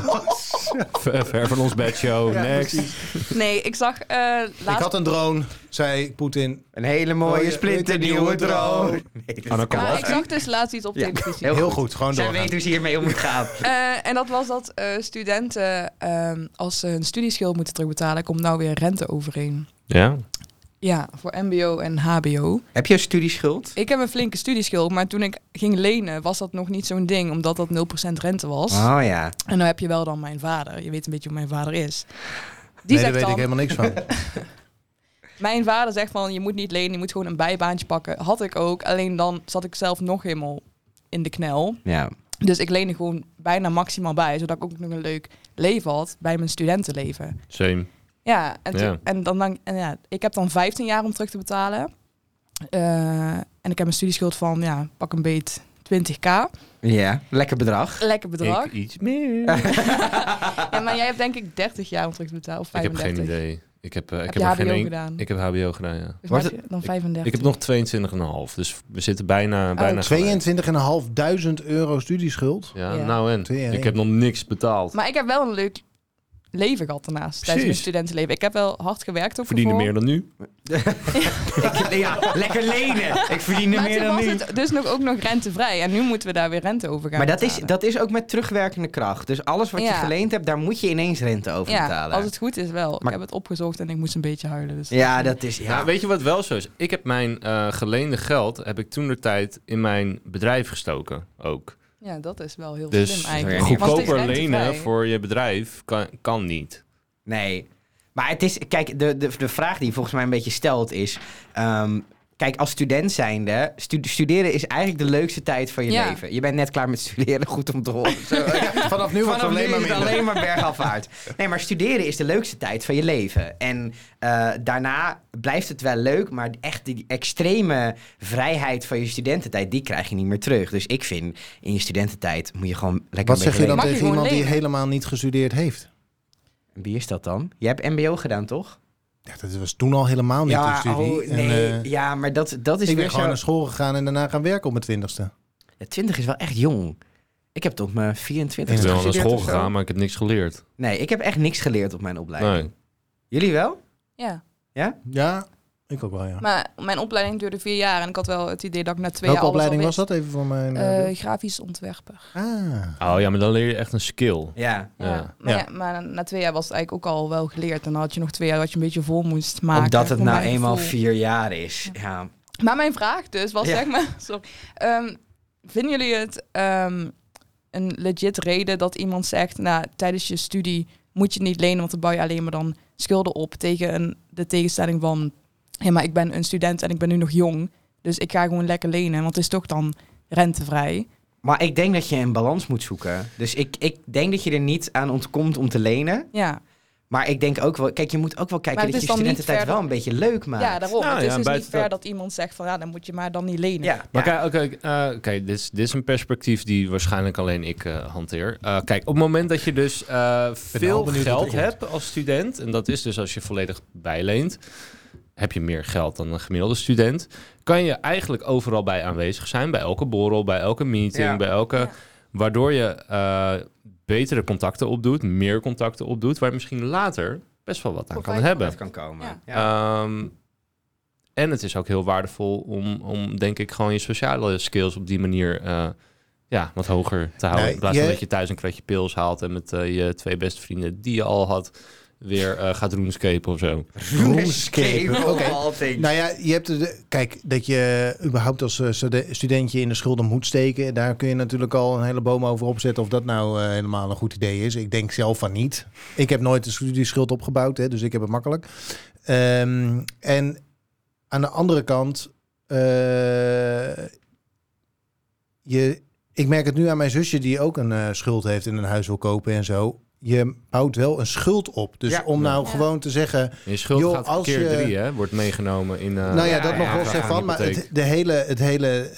D: Ver, ver van ons bedshow. Next.
E: Nee, ik zag eh,
B: Ik
E: laatst...
B: had een drone, zei Poetin.
A: Een hele mooie
B: Mooie
A: splinternieuwe
B: splinternieuwe
A: droom.
B: droom.
A: Nee, dat
D: Anna
A: kan
D: Kool.
E: Nou,
A: niet.
E: ik zag dus laatst iets op
A: Ja.
E: televisie.
A: Heel
B: Heel
A: goed.
B: goed, gewoon
A: Zij weet
B: doorgaan.
A: hoe ze hiermee om moet gaan.
E: Eh, en dat was dat eh, studenten, ehm, als ze hun studieschuld moeten terugbetalen, komt nou weer rente overheen.
D: Ja.
E: Ja, voor MBO en
A: *laughs*
E: HBO.
A: Heb je een studieschuld?
E: Ik heb een flinke studieschuld, maar toen ik ging lenen was dat nog niet zo'n ding, omdat dat 0% rente was.
A: Oh ja.
E: En nou heb je wel dan mijn vader. Je weet een beetje hoe mijn vader is. Die
B: Nee, daar
E: zegt
B: weet ik
E: dan,
B: helemaal niks van.
E: mijn vader zegt van, je moet niet lenen, je moet gewoon een bijbaantje pakken. Had ik ook, alleen dan zat ik zelf nog helemaal in de knel.
A: Ja.
E: Dus ik leende gewoon bijna maximaal bij, zodat ik ook nog een leuk leven had bij mijn studentenleven.
D: Same.
E: Ja, en, toen-
D: Ja.
E: en dan, dan en ja, ik heb dan 15 jaar om terug te betalen. Eh, en ik heb een studieschuld van, ja, pak een beet 20k.
A: Ja, lekker bedrag.
E: Lekker bedrag.
D: Ik iets meer.
E: Ja, maar jij hebt denk ik 30 jaar om terug te betalen, of
D: Ik heb
E: 35.
D: geen idee. Ik heb, eh, ik
E: Heb
D: heb
E: je
D: er geen
E: HBO
D: een-
E: gedaan?
D: Ik heb HBO gedaan, ja.
E: Dus
A: Wat-
E: maak je dan 35.
D: Ik heb nog 22,5. Dus we zitten bijna...
B: Oh,
D: bijna gelijk.
B: 22.500 euro studieschuld.
D: Ja,
E: Ja.
D: nou en.
B: Twee en
D: Ik
B: één.
D: heb nog niks betaald.
E: Maar ik heb wel een leuk leven gehad daarnaast, tijdens mijn
D: Precies.
E: studentenleven. Ik heb wel hard gewerkt ook
D: Verdiende
E: ervoor.
D: meer dan nu.
A: Ik- *laughs* ja, lekker lenen. Ik verdien er
E: Maar
A: meer
E: toen
A: dan
E: was
A: nu.
E: het dus nog, ook nog rentevrij. En nu moeten we daar weer rente over gaan
A: Maar dat is,
E: betalen.
A: dat is ook met terugwerkende kracht. Dus alles wat je
E: Ja.
A: geleend hebt, daar moet je ineens rente over
E: Ja,
A: betalen.
E: als het goed is wel.
A: Maar-
E: Ik heb het opgezocht en ik moest een beetje huilen. Dus
A: Ja, dat is... Ja.
D: Nou, weet je wat wel zo is? Ik heb mijn eh, geleende geld, heb ik toen de tijd in mijn bedrijf gestoken ook.
E: Ja, dat is wel heel
D: Dus
E: slim eigenlijk. Want het is
D: goedkoper
E: rentevrij.
D: lenen voor je bedrijf kan, kan niet.
A: Nee. Maar het is, kijk, de, de, de vraag die je volgens mij een beetje stelt is. ehm, kijk, als student zijnde, stu- studeren is eigenlijk de leukste tijd van je
E: Ja.
A: leven. Je bent net klaar met studeren, *laughs* goed om te horen. Zo.
B: *laughs* Vanaf nu wordt het
A: Vanaf nu
B: alleen maar
A: is het
B: minder. *laughs*
A: alleen maar bergafwaarts. Nee, maar studeren is de leukste tijd van je leven. En eh, daarna blijft het wel leuk, maar echt die extreme vrijheid van je studententijd, die krijg je niet meer terug. Dus ik vind, in je studententijd moet je gewoon lekker een
B: Wat zeg
A: beetje
B: je dan
E: Mag je
B: tegen
E: gewoon
B: iemand die
E: lenen?
B: helemaal niet gestudeerd heeft?
A: leven. Wie is dat dan? Je hebt mbo gedaan, toch?
B: Ja, dat was toen al helemaal niet een studie.
A: oh,
B: En,
A: nee.
B: eh,
A: ja, maar dat, dat is
B: ik ben
A: weer
B: gewoon
A: zo...
B: naar school gegaan en daarna gaan werken op mijn twintigste.
A: Ja, 20 is wel echt jong. Ik heb tot mijn 24
D: Ik ben wel naar
A: gestudeerd
D: school
A: of zo.
D: gegaan, maar ik heb niks geleerd.
A: Nee, ik heb echt niks geleerd op mijn opleiding.
D: Nee.
A: Jullie wel?
E: Ja,
B: Ja, ik ook wel, ja.
E: maar mijn opleiding duurde vier jaar en ik had wel het idee dat ik na twee
B: Welke
E: jaar alles
B: opleiding was
E: al
B: dat even voor mijn...
E: wist.
B: eh,
E: Eh, grafisch ontwerper. *laughs*
B: ah.
D: Oh ja, maar dan leer je echt een skill.
A: Ja.
D: Ja.
E: Ja. Maar,
B: Ja.
E: ja, maar na twee jaar was het eigenlijk ook al wel geleerd. En dan had je nog twee jaar wat je een beetje vol moest maken.
A: Omdat het
E: voor
A: nou
E: mijn
A: eenmaal
E: gevoel.
A: vier jaar is. Ja.
E: Maar mijn vraag dus was
A: Ja.
E: zeg maar... *laughs* Sorry. Ehm, vinden jullie het ehm, een legit reden dat iemand zegt... Nou, tijdens je studie moet je het niet lenen... want dan bouw je alleen maar dan schulden op... tegen een, de tegenstelling van... Hé, maar ik ben een student en ik ben nu nog jong... dus ik ga gewoon lekker lenen... want het is toch dan rentevrij.
A: Maar ik denk dat je een balans moet zoeken. Dus ik, ik denk dat je er niet aan ontkomt om te lenen.
E: Ja,
A: Maar ik denk ook wel... Kijk, je moet ook wel kijken
E: Maar het
A: dat je
E: is dan niet
A: studententijd
E: verder-
A: wel een beetje leuk maakt.
E: ja daarom.
D: Nou
E: het
D: ja,
E: is dus niet
D: buiten
E: fair
D: dat-
E: dat... iemand zegt van... ja, dan moet je maar dan niet lenen.
A: Ja,
D: Maar
A: ja.
D: kijk, oké, eh, oké, dit, is, dit is een perspectief die waarschijnlijk alleen ik eh, hanteer. Eh, kijk, op het moment dat je dus eh, veel
B: benieuwd wat er
D: geld
B: komt.
D: hebt als student, en dat is dus als je volledig bijleent, heb je meer geld dan een gemiddelde student, kan je eigenlijk overal bij aanwezig zijn, bij elke borrel, bij elke meeting,
A: Ja.
D: bij elke...
E: Ja.
D: Waardoor je eh, betere contacten opdoet, meer contacten opdoet, waar je misschien later best wel wat aan kan
E: Profijt van
B: eh,
D: hebben.
A: Dat kan komen. Ja.
E: Ja.
D: Ehm, en het is ook heel waardevol om, om, denk ik, gewoon je sociale skills op die manier eh, ja, wat hoger te houden.
B: Nee,
D: In plaats van
B: je-
D: dat je thuis een kratje pils haalt en met eh, je twee beste vrienden die je al had, weer eh, gaat roomscapen of zo.
E: *laughs*
B: Roomscape. eh, Oké.
E: Oh.
A: Altijd.
B: Nou ja, je hebt de, kijk, dat je überhaupt als eh, stude- studentje in de schulden moet steken, daar kun je natuurlijk al een hele boom over opzetten of dat nou eh, helemaal een goed idee is. Ik denk zelf van niet. Ik heb nooit een studieschuld opgebouwd, hè, dus ik heb het makkelijk. Ehm, en aan de andere kant, eh, je, ik merk het nu aan mijn zusje die ook een eh, schuld heeft en een huis wil kopen en zo. Je bouwt wel een schuld op. Dus
A: Ja.
B: om nou
E: Ja.
B: gewoon te zeggen,
D: En je schuld
B: Joh,
D: gaat
B: als
D: keer
B: je-
D: drie, hè? Wordt meegenomen in... eh,
B: nou ja,
A: ja,
B: dat
A: ja,
B: nog
A: ja,
B: wel
A: ja,
B: zeg
D: ja,
B: van. Maar
D: hypotheek.
B: het, de hele, het hele eh,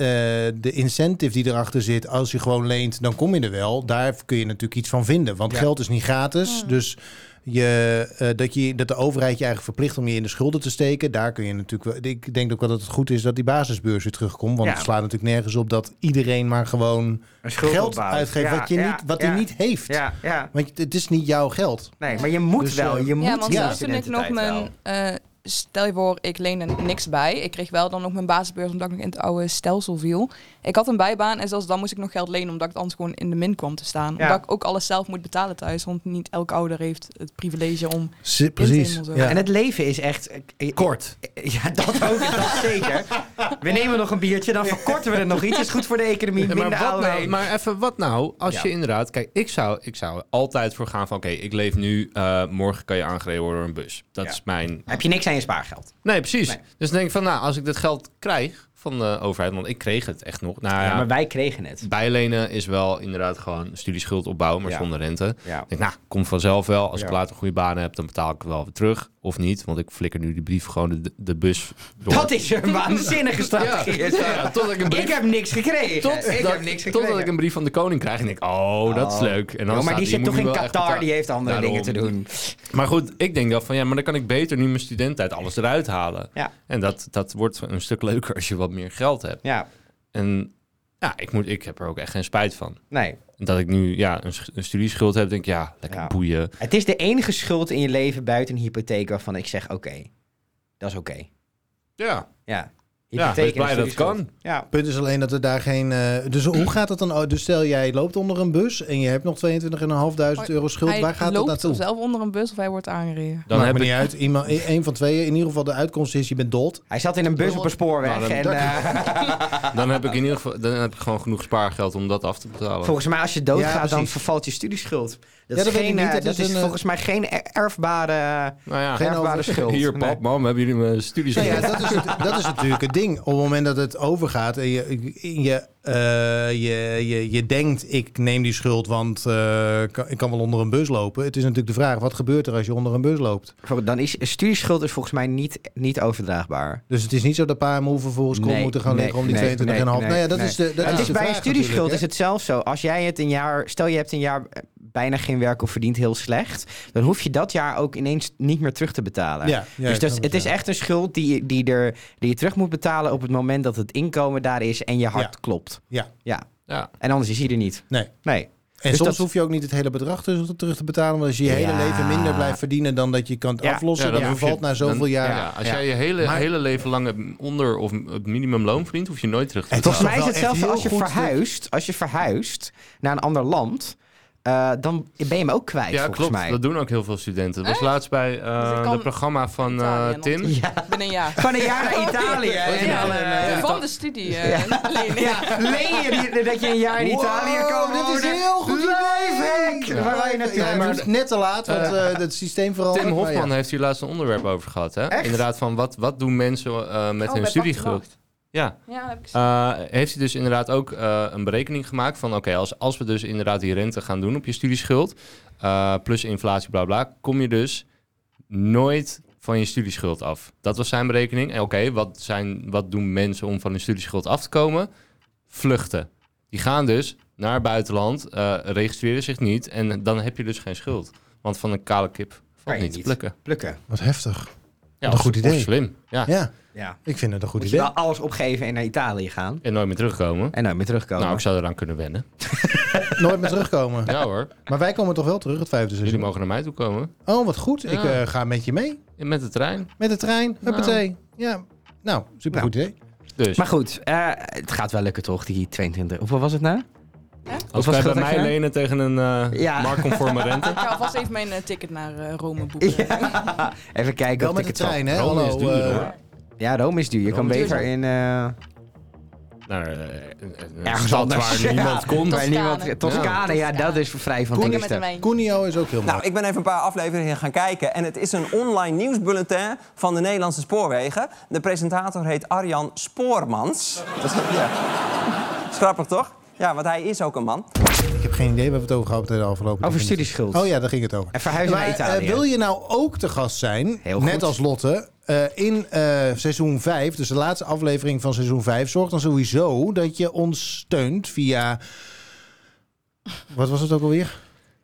B: de incentive die erachter zit, als je gewoon leent, dan kom je er wel. Daar kun je natuurlijk iets van vinden. Want
A: Ja.
B: geld is niet gratis.
E: Ja.
B: Dus je, eh, dat, je, dat de overheid je eigenlijk verplicht om je in de schulden te steken. Daar kun je natuurlijk wel. Ik denk ook wel dat het goed is dat die basisbeurs weer terugkomt. Want
A: Ja.
B: het slaat natuurlijk nergens op dat iedereen maar gewoon
A: Een schuld
B: geld
A: opbouwen.
B: uitgeeft.
A: Ja,
B: wat je
A: ja,
B: niet, wat
A: ja,
B: hij niet heeft.
A: Ja, ja.
B: Want het is niet jouw geld.
A: Nee, maar je moet
B: Dus,
A: wel.
B: eh,
A: Je moet
E: ja, want
A: je
E: zelfs toen ik nog
A: studententijd wel.
E: mijn... eh, stel je voor, ik leende niks bij. Ik kreeg wel dan nog mijn basisbeurs omdat ik nog in het oude stelsel viel. Ik had een bijbaan en zelfs dan moest ik nog geld lenen... omdat ik anders gewoon in de min kwam te staan.
A: Ja.
E: Omdat ik ook alles zelf moet betalen thuis. Want niet elk ouder heeft het privilege om...
B: Precies.
E: precies. Ja.
A: En het leven is echt... Kort. Ja, dat *laughs* ook. dat zeker. We nemen nog een biertje, dan verkorten we het nog iets. Is goed voor de economie,
D: Ja,
A: minder
D: maar, wat nou,
A: oude
D: maar even, wat nou als
A: Ja.
D: je inderdaad... Kijk, ik zou, ik zou er altijd voor gaan van... Oké, ik leef nu, eh, morgen kan je aangereden worden door een bus. Dat
A: Ja.
D: is mijn
A: Heb je niks aan je spaargeld?
D: Nee, precies.
A: Nee.
D: Dus dan denk ik van, nou, als ik dit geld krijg van de overheid, want ik kreeg het echt nog. Nou ja,
A: Ja, maar wij kregen het.
D: bijlenen is wel inderdaad gewoon studieschuld opbouwen, maar
A: Ja.
D: zonder rente. Ik
A: Ja.
D: denk, nou, komt vanzelf wel. Als ik
A: Ja.
D: later een goede baan heb, dan betaal ik het wel weer terug. Of niet, want ik flikker nu die brief gewoon de, de bus door.
A: Dat is een waanzinnige
D: *laughs*
A: strategie. is dat.
D: Ja, totdat ik een brief...
A: *laughs* Ik heb niks gekregen.
D: tot
A: ik
D: dat-
A: heb niks gekregen.
D: totdat ik een brief van de koning krijg en denk, oh, dat is
A: Oh.
D: leuk. En dan
A: Joh, maar
D: staat
A: die
D: hier,
A: zit
D: moet
A: toch
D: je
A: in
D: wel echt
A: Qatar,
D: betalen.
A: die heeft andere dingen te
D: Daarom.
A: doen.
D: Maar goed, ik denk dan van ja, maar dan kan ik beter nu mijn studentijd alles eruit halen.
A: Ja.
D: En dat, dat wordt een stuk leuker als je wat meer geld hebt.
A: Ja,
D: En ja, ik, moet, ik heb er ook echt geen spijt van.
A: nee.
D: En Dat ik nu ja, een, sch- een studieschuld heb, denk ik ja, lekker
A: Ja.
D: boeien.
A: Het is de enige schuld in je leven buiten een hypotheek waarvan ik zeg: oké, dat is oké.
D: Ja.
A: Ja.
D: Ja, ik ben blij dat het kan.
A: Ja.
B: punt is alleen dat er daar geen... eh, dus
A: *clears throat*
B: hoe gaat dat dan? oh, Dus stel jij loopt onder een bus en je hebt
A: Oh,
B: nog 22.500 euro schuld.
E: hij
B: Waar gaat dat
E: loopt
B: naartoe?
E: zelf onder een bus of hij wordt aangereden.
D: Dan
B: Maakt
D: heb
B: me
D: ik,
B: niet uit. Iemand, e- een van tweeën. In ieder geval de uitkomst is je bent dood.
A: Hij zat in een bus op een spoorweg.
D: Nou, dan-
A: en,
D: dat- *laughs*
A: eh,
D: dan heb ik in ieder geval dan heb ik gewoon genoeg spaargeld om dat af te betalen.
A: volgens mij als je doodgaat,
B: Ja,
A: dan
B: precies.
A: vervalt je studieschuld. Dat
B: Ja,
A: is,
B: dat weet ik
A: geen,
B: niet.
A: eh,
B: Dat
A: dat
B: is
A: is,
B: een, eh,
A: volgens mij geen er- erfbare,
D: nou ja,
B: Geen
A: erfbare
B: over-
A: schuld.
D: hier,
A: Nee.
D: pap, mam, hebben jullie mijn studies
B: Nou ja, dat, is het, dat is natuurlijk het ding. Op het moment dat het overgaat en je, in je, eh, je, je, je denkt, ik neem die schuld, want eh, ik kan- ik kan wel onder een bus lopen. Het is natuurlijk de vraag, wat gebeurt er als je onder een bus loopt?
A: Bijvoorbeeld, Dan is studieschuld is volgens mij niet, niet overdraagbaar.
B: Dus het is niet zo dat pa en moe vervolgens kom
A: Nee,
B: moeten gaan
A: nee,
B: liggen om die
A: nee,
B: 22,5.
A: nee,
B: nou ja, dat
A: nee.
B: is de, dat
A: het
B: is
A: is
B: de
A: bij
B: vraag
A: een studieschuld
B: natuurlijk,
A: is
B: hè.
A: het zelfs zo. Als jij het een jaar, stel je hebt een jaar eh, bijna geen werk of verdient heel slecht, dan hoef je dat jaar ook ineens niet meer terug te betalen.
B: Ja, ja,
A: dus
B: ik
A: dat,
B: snap
A: het
B: ja.
A: is echt een schuld die, die, er, die je terug moet betalen op het moment dat het inkomen daar is en je hart
B: Ja.
A: klopt.
B: Ja,
A: Ja.
D: Ja.
A: En anders is hij er niet.
B: nee.
A: Nee.
B: En
A: Dus
B: soms
A: dat-
B: hoef je ook niet het hele bedrag terug terug te betalen. Want als je je hele
A: Ja.
B: leven minder blijft verdienen dan dat je kan
A: Ja.
B: aflossen,
D: Ja,
B: dan
D: dan hoef je-
B: vervalt na zoveel
D: dan-
B: jaar.
D: Ja, als
A: Ja.
D: jij je hele,
B: Maar-
D: hele leven lang het onder of het minimumloon verdient, hoef je nooit terug te
B: Het is
A: Volgens
D: betalen.
A: mij is
B: wel
A: het
B: echt
A: zelfs als
B: heel
A: je
B: goed dat-
A: verhuist, als je verhuist naar een ander land, eh, dan ben je hem ook kwijt
D: Ja,
A: volgens
D: klopt.
A: mij.
D: Dat doen ook heel veel studenten. Dat was laatst bij eh
E: Dus ik kan-
D: het programma van eh,
E: Italië nog.
D: Tim.
A: Ja.
E: Binnen een jaar.
A: Van een jaar naar Italië. en
E: Ja,
A: dan, eh,
E: van de studie. eh, *laughs* lenen.
A: Ja, leen je die- dat je een jaar in Italië kan
B: Wow,
A: wonen?
B: Oh, dit is heel goed
A: Lijfhek!
B: idee.
A: Waar wij naartoe?
B: Ja, het is net te laat, want eh, het systeem verandert.
D: Tim
B: maar
D: Hofman
B: nou ja.
D: heeft hier laatst een onderwerp over gehad. Hè?
A: Echt?
D: Inderdaad, van wat, wat doen mensen eh, met
E: Oh,
D: hun
E: bij
D: studieschuld?
E: Wacht,
D: Ja,
E: Wacht. Ja, dat heb ik gezien.
D: Eh, heeft hij dus inderdaad ook eh, een berekening gemaakt van... oké, als, als we dus inderdaad die rente gaan doen op je studieschuld... eh, plus inflatie, bla bla, kom je dus nooit van je studieschuld af. Dat was zijn berekening. En oké, wat, zijn- wat doen mensen om van hun studieschuld af te komen? Vluchten. Die gaan dus naar het buitenland, eh, registreren zich niet... en dan heb je dus geen schuld. Want van een kale kip
A: Kan
D: valt
A: je
D: niet te
A: niet.
D: plukken.
A: Plukken.
B: Wat heftig.
D: Ja,
B: Wat een
D: of-
B: goed
D: of
B: idee.
D: slim, ja.
B: Ja,
A: Ja.
B: ik vind het een goed
A: Moet je
B: idee.
A: wel alles opgeven en naar Italië gaan.
D: En nooit meer terugkomen.
A: En nooit meer terugkomen.
D: Nou, ik zou eraan kunnen wennen.
B: Nooit meer terugkomen.
D: Ja hoor,
B: Maar wij komen toch wel terug het vijfde
D: Dus jullie
B: seizoen.
D: mogen naar mij toe komen.
B: Oh, wat goed. Ik
D: Ja.
B: eh, ga met je mee.
D: En Met de trein.
B: Met de trein. Huppatee. Ja. Nou, super goed idee.
D: Dus
A: Maar goed, eh, het gaat wel lukken toch, die 22. Hoeveel was het nou?
D: als
A: was
D: wij bij
A: dat
D: mij
A: echt, hè?
D: lenen tegen een eh
A: Ja.
D: marktconforme
A: *laughs*
D: rente.
E: Ik ga alvast even mijn eh, ticket naar eh, Rome boeken.
A: Even kijken.
B: Wel
A: of
B: met de
A: ik het zal-
B: trein, hè?
D: Rome is
B: Hallo,
D: duur,
B: eh,
D: hoor.
A: Ja, Rome is duur. Je
D: Rome
A: kan
D: is
A: beter
D: duur.
A: in... eh
D: Naar eh, een
A: Ergens
D: stad
A: anders.
D: waar
A: Ja.
D: niemand komt.
A: waar niemand, Toscane, ja.
E: Ja.
A: dat is vrij van
E: Koeken met de
A: toeristen.
E: wijn.
B: Cuneo is ook heel mooi.
F: Nou, ik ben even een paar afleveringen gaan kijken. En het is een online nieuwsbulletin van de Nederlandse Spoorwegen. De presentator heet Arjan Spoormans. Dat is, ja. *laughs* is grappig, toch? Ja, want hij is ook een man.
B: ik heb geen idee waar we het over gehad hebben de afgelopen
A: Over
B: 10 minuten.
A: studieschuld.
B: Oh ja, daar ging het over.
A: En verhuizen
B: Maar,
A: naar Italië.
B: eh, wil je nou ook te gast zijn,
A: Heel
B: net
A: goed.
B: als Lotte, eh, in eh, seizoen 5, dus de laatste aflevering van seizoen 5, zorg dan sowieso dat je ons steunt via. Wat was het ook alweer?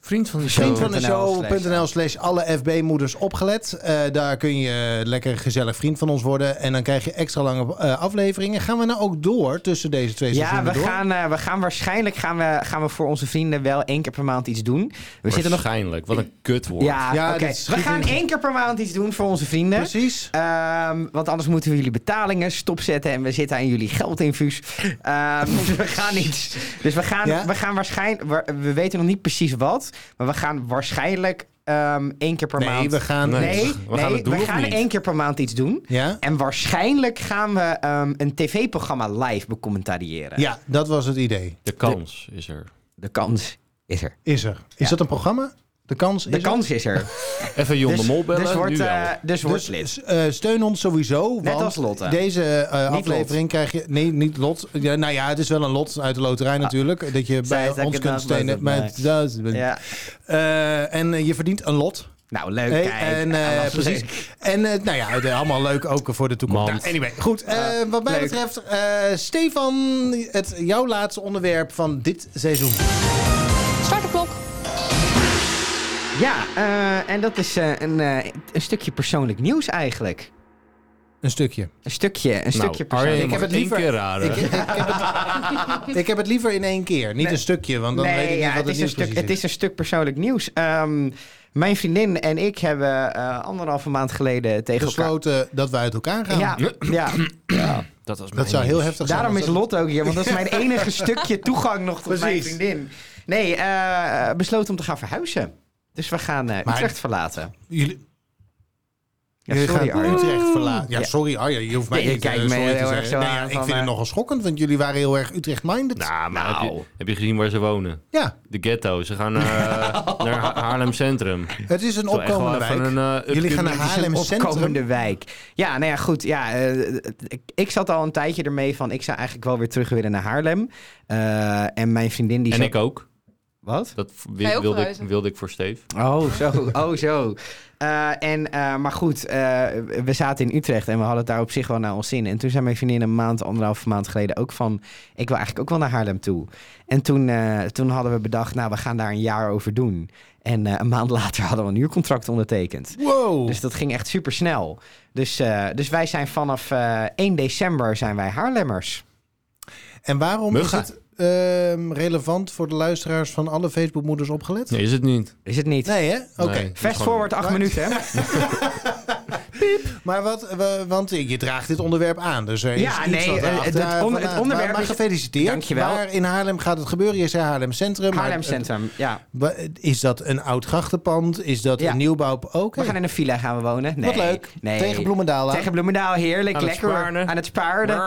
D: Vriend van de
B: Vriend
D: show.
B: van de
A: show.nl
B: show.nl slash alle FB-moeders opgelet. Eh, daar kun je lekker gezellig vriend van ons worden. En dan krijg je extra lange eh, afleveringen. Gaan we nou ook door tussen deze twee
A: Ja,
B: seizoenen
A: we
B: door?
A: gaan, eh, we gaan waarschijnlijk gaan we, gaan we voor onze vrienden wel één keer per maand iets doen. We zitten nog
D: Waarschijnlijk. Wat een kutwoord.
A: Ja,
B: Ja,
A: oké.
B: dit schiet
A: We gaan
B: niet.
A: één keer per maand iets doen voor onze vrienden.
B: Precies.
A: Ehm, want anders moeten we jullie betalingen stopzetten en we zitten aan jullie geldinfuus. Ehm, *laughs* dus we gaan iets. Dus we gaan,
B: Ja?
A: we gaan waarschijnlijk. We weten nog niet precies wat, maar we gaan waarschijnlijk ehm, één keer per
B: Nee,
A: maand.
B: we gaan.
D: Nee.
A: nee,
D: we gaan
A: nee,
D: het doen
A: we
D: of
A: gaan
D: niet?
A: één keer per maand iets doen.
B: Ja?
A: En waarschijnlijk gaan we ehm, een tv-programma live becommentariëren.
B: ja, dat was het idee.
D: De kans is er.
A: De kans is er.
B: Is er. Is
A: Ja.
B: dat een programma? De kans is
A: De
B: er?
A: kans is
B: *laughs*
A: er.
D: Even Jon
A: Dus,
D: de Mol bellen.
A: dus wordt,
D: nu wel.
A: eh, dus wordt
B: Dus
A: lid.
B: eh, steun ons sowieso.
A: Net
B: want
A: als Lotte.
B: Deze eh,
A: Lot.
B: aflevering krijg je. Nee, niet lot. Ja, nou ja, het is wel een lot uit de loterij natuurlijk. Dat je
A: Ah. Zij
B: bij
A: is
B: ons
A: lekker
B: kunt
A: dat
B: steunen.
A: lot,
B: Maar
A: nee.
B: het- dat-
A: Ja.
B: Eh, en eh, je verdient een lot.
A: Nou, leuk.
B: Hey,
A: kijk.
B: en, eh,
A: Ah, dat is
B: precies.
A: leuk.
B: En eh, nou ja, het, eh, allemaal leuk ook voor de toekomst.
D: Mand.
B: Nou, anyway, goed. eh, wat mij
A: Ah, leuk.
B: betreft, eh, Stefan, het, jouw laatste onderwerp van dit seizoen.
E: Start de klok.
A: Ja, eh, en dat is eh, een, eh, een stukje persoonlijk nieuws eigenlijk.
B: Een stukje.
A: Een stukje, een
D: nou,
A: stukje
D: Arjen,
A: persoonlijk.
D: ik heb het
B: liever-
D: keer raden.
B: Ik, ik, heb het, *laughs* ik heb het liever in één keer. Niet
A: Nee.
B: een stukje, want dan weet ik
A: Nee,
B: niet
A: ja,
B: wat het,
A: het, is een
B: nieuws
A: stuk,
B: precies
A: het is een stuk persoonlijk nieuws. Ehm, mijn vriendin en ik hebben eh, anderhalve maand geleden tegen elkaar...
B: Gesloten dat we uit elkaar gaan.
A: Ja, ja.
D: Dat, was
B: Dat
D: mijn
B: zou heel
D: nieuws.
B: heftig zijn.
A: Daarom is
B: Dat-
A: Lot ook hier, want dat is
B: *laughs*
A: mijn enige stukje toegang nog tot mijn
B: Precies.
A: vriendin. Nee, eh besloten om te gaan verhuizen. Dus we gaan eh
B: Maar-
A: Utrecht verlaten.
B: Jullie,
A: Ja,
B: jullie
A: sorry
B: gaan
A: Arjen.
B: Utrecht verlaten. Ja,
A: Ja.
B: sorry Arjen, je hoeft mij
A: Ja, je
B: niet eh,
A: kijkt mij
B: sorry te
A: heel erg
B: zeggen.
A: zo
B: Nee,
A: aan
B: ja, ik
A: van,
B: vind het
A: eh,
B: nogal schokkend, want jullie waren heel erg Utrecht-minded.
D: Nou, maar
A: Nou.
D: Heb, je, heb je gezien waar ze wonen?
B: Ja,
D: De ghetto. Ze gaan
A: *laughs*
D: naar, eh, naar Ha- Haarlem Centrum.
B: het is een
D: Zo, echt wel
B: opkomende
D: even
B: wijk.
D: een, eh,
B: jullie gaan naar
A: Het is een
B: Haarlem Centrum.
A: opkomende wijk. Ja, nou ja, goed. Ja, eh, ik, ik zat al een tijdje ermee van... ik zou eigenlijk wel weer terug willen naar Haarlem. Eh, en mijn vriendin die
D: En
A: zat-
D: ik ook.
A: Wat?
D: Dat w-
E: Ga je ook
D: wilde, ik,
E: verhuizen?
D: wilde ik voor Steve.
A: Oh, zo. Oh, zo. Eh, en, eh, maar goed, eh, we zaten in Utrecht en we hadden het daar op zich wel naar ons zin. En toen zei mijn vriendin een maand, anderhalf maand geleden ook van... ik wil eigenlijk ook wel naar Haarlem toe. En toen, eh, toen hadden we bedacht, nou, we gaan daar een jaar over doen. En eh, een maand later hadden we een huurcontract ondertekend.
B: Wow.
A: Dus dat ging echt super snel. Dus, eh, dus wij zijn vanaf eh, 1 december zijn wij Haarlemmers.
B: En waarom
D: Mugga.
B: is het ehm, relevant voor de luisteraars van alle Facebookmoeders opgelet?
D: Nee, is het niet.
A: Is het niet?
B: Nee, hè? Oké.
D: Nee.
A: Fast forward acht
B: *laughs* Maar-
A: minuten, hè?
B: Maar wat, we- want je draagt dit onderwerp aan. Dus er is
A: Ja,
B: iets
A: nee,
B: wat
A: eh,
B: erachter-
A: het- het on-
B: vandaan-
A: het onderwerp
B: Maar, maar
A: is-
B: gefeliciteerd.
A: Dankjewel.
B: Waar in Haarlem gaat het gebeuren? Je zei Haarlem Centrum. maar
A: Haarlem
B: het-
A: Centrum, ja.
B: wa- Is dat een oud grachtenpand? Is dat
A: Ja.
B: een nieuwbouw? Oké.
A: We gaan in een villa gaan we wonen. Nee.
B: Wat leuk.
A: Nee.
B: Tegen Bloemendaal aan.
A: Tegen Bloemendaal, heerlijk,
D: Aan het
A: lekker
D: spaarden.
A: aan het spaarden.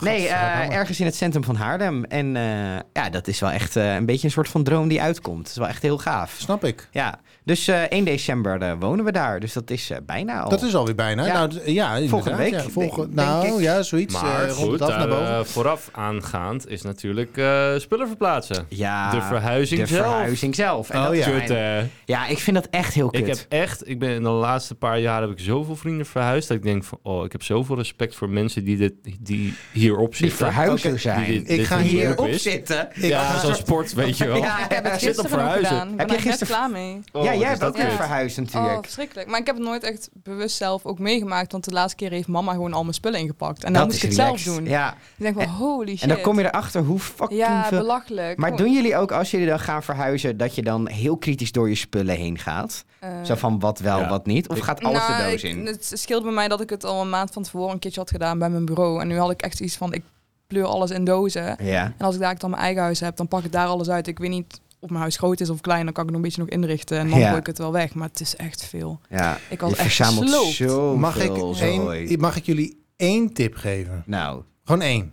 A: Nee, eh,
B: Gadverdamme.
A: ergens in het centrum van Haarlem. En eh, ja, dat is wel echt eh, een beetje een soort van droom die uitkomt. Het is wel echt heel gaaf.
B: Snap ik.
A: Ja, dus eh 1 december eh, wonen we daar. dus dat is eh, bijna al.
B: Dat is alweer bijna.
A: Ja.
B: Nou, d- ja, inderdaad,
A: week,
B: Ja, volgende,
A: denk-
B: nou
A: denk ik.
B: ja, zoiets.
D: Maar
B: eh, rond
D: goed,
B: het af
D: daar,
B: naar boven.
D: eh, vooraf aangaand is natuurlijk eh, spullen verplaatsen.
A: ja,
D: de verhuizing
A: de
D: zelf.
A: verhuizing zelf. En
B: Oh,
A: dat is
B: ja.
A: mijn-
D: Kut, hè.
A: ja, ik vind dat echt heel kut.
D: eh, Ik heb echt, ik ben in de laatste paar jaar heb ik zoveel vrienden verhuisd. Dat ik denk van, oh, ik heb zoveel respect voor mensen die, dit, die hierop
A: Die
D: zitten.
A: verhuizer
B: Oké,
A: zijn.
D: Die dit-
B: Ik
D: dit
B: ga
D: hun
B: hier
D: beroep
A: Hierop
D: is.
A: zitten.
D: Ja, zo'n sport, weet je wel.
A: Ja,
E: Ik heb
D: Zit
E: het
D: op
E: gisteren nog
D: verhuizen.
E: gedaan. Ik
A: Heb
E: ben
A: jij
E: er net
A: gisteren-
E: klaar mee.
D: Oh,
A: ja, jij
D: wat is
A: hebt
D: dat
A: ook weer
D: kut.
A: verhuisd
E: Oh,
A: natuurlijk.
E: verschrikkelijk. Maar ik heb het nooit echt bewust zelf ook meegemaakt. Want de laatste keer heeft mama gewoon al mijn spullen ingepakt. En dan
A: dat
E: moest
A: is
E: ik het
A: relaxed.
E: zelf doen.
A: Ja.
E: Ik denk wel, holy shit.
A: En dan kom je erachter hoe fucking
E: Ja,
A: veel...
E: belachelijk.
A: Maar
E: Oh,
A: doen jullie ook als jullie dan gaan verhuizen, dat je dan heel kritisch door je spullen heen gaat?
E: eh,
A: Zo van wat wel,
D: Ja.
A: wat niet? Of gaat alles
E: nou,
A: de doos
E: ik-
A: in?
E: Het scheelde bij mij dat ik het al een maand van tevoren een keertje had gedaan bij mijn bureau. En nu had ik echt iets van, ik pleur alles in dozen.
A: Ja.
E: En als ik daar dan mijn eigen huis heb, dan pak ik daar alles uit. Ik weet niet of mijn huis groot is of klein, dan kan ik het nog een beetje nog inrichten. En dan
A: Ja.
E: gooi ik het wel weg. Maar het is echt veel.
A: ja.
E: Ik was
A: je
E: echt
A: verzamelt
E: gesloopt.
A: zo
B: mag, ik
A: veel zooi.
B: één, mag ik jullie één tip geven?
A: Nou,
B: Gewoon één.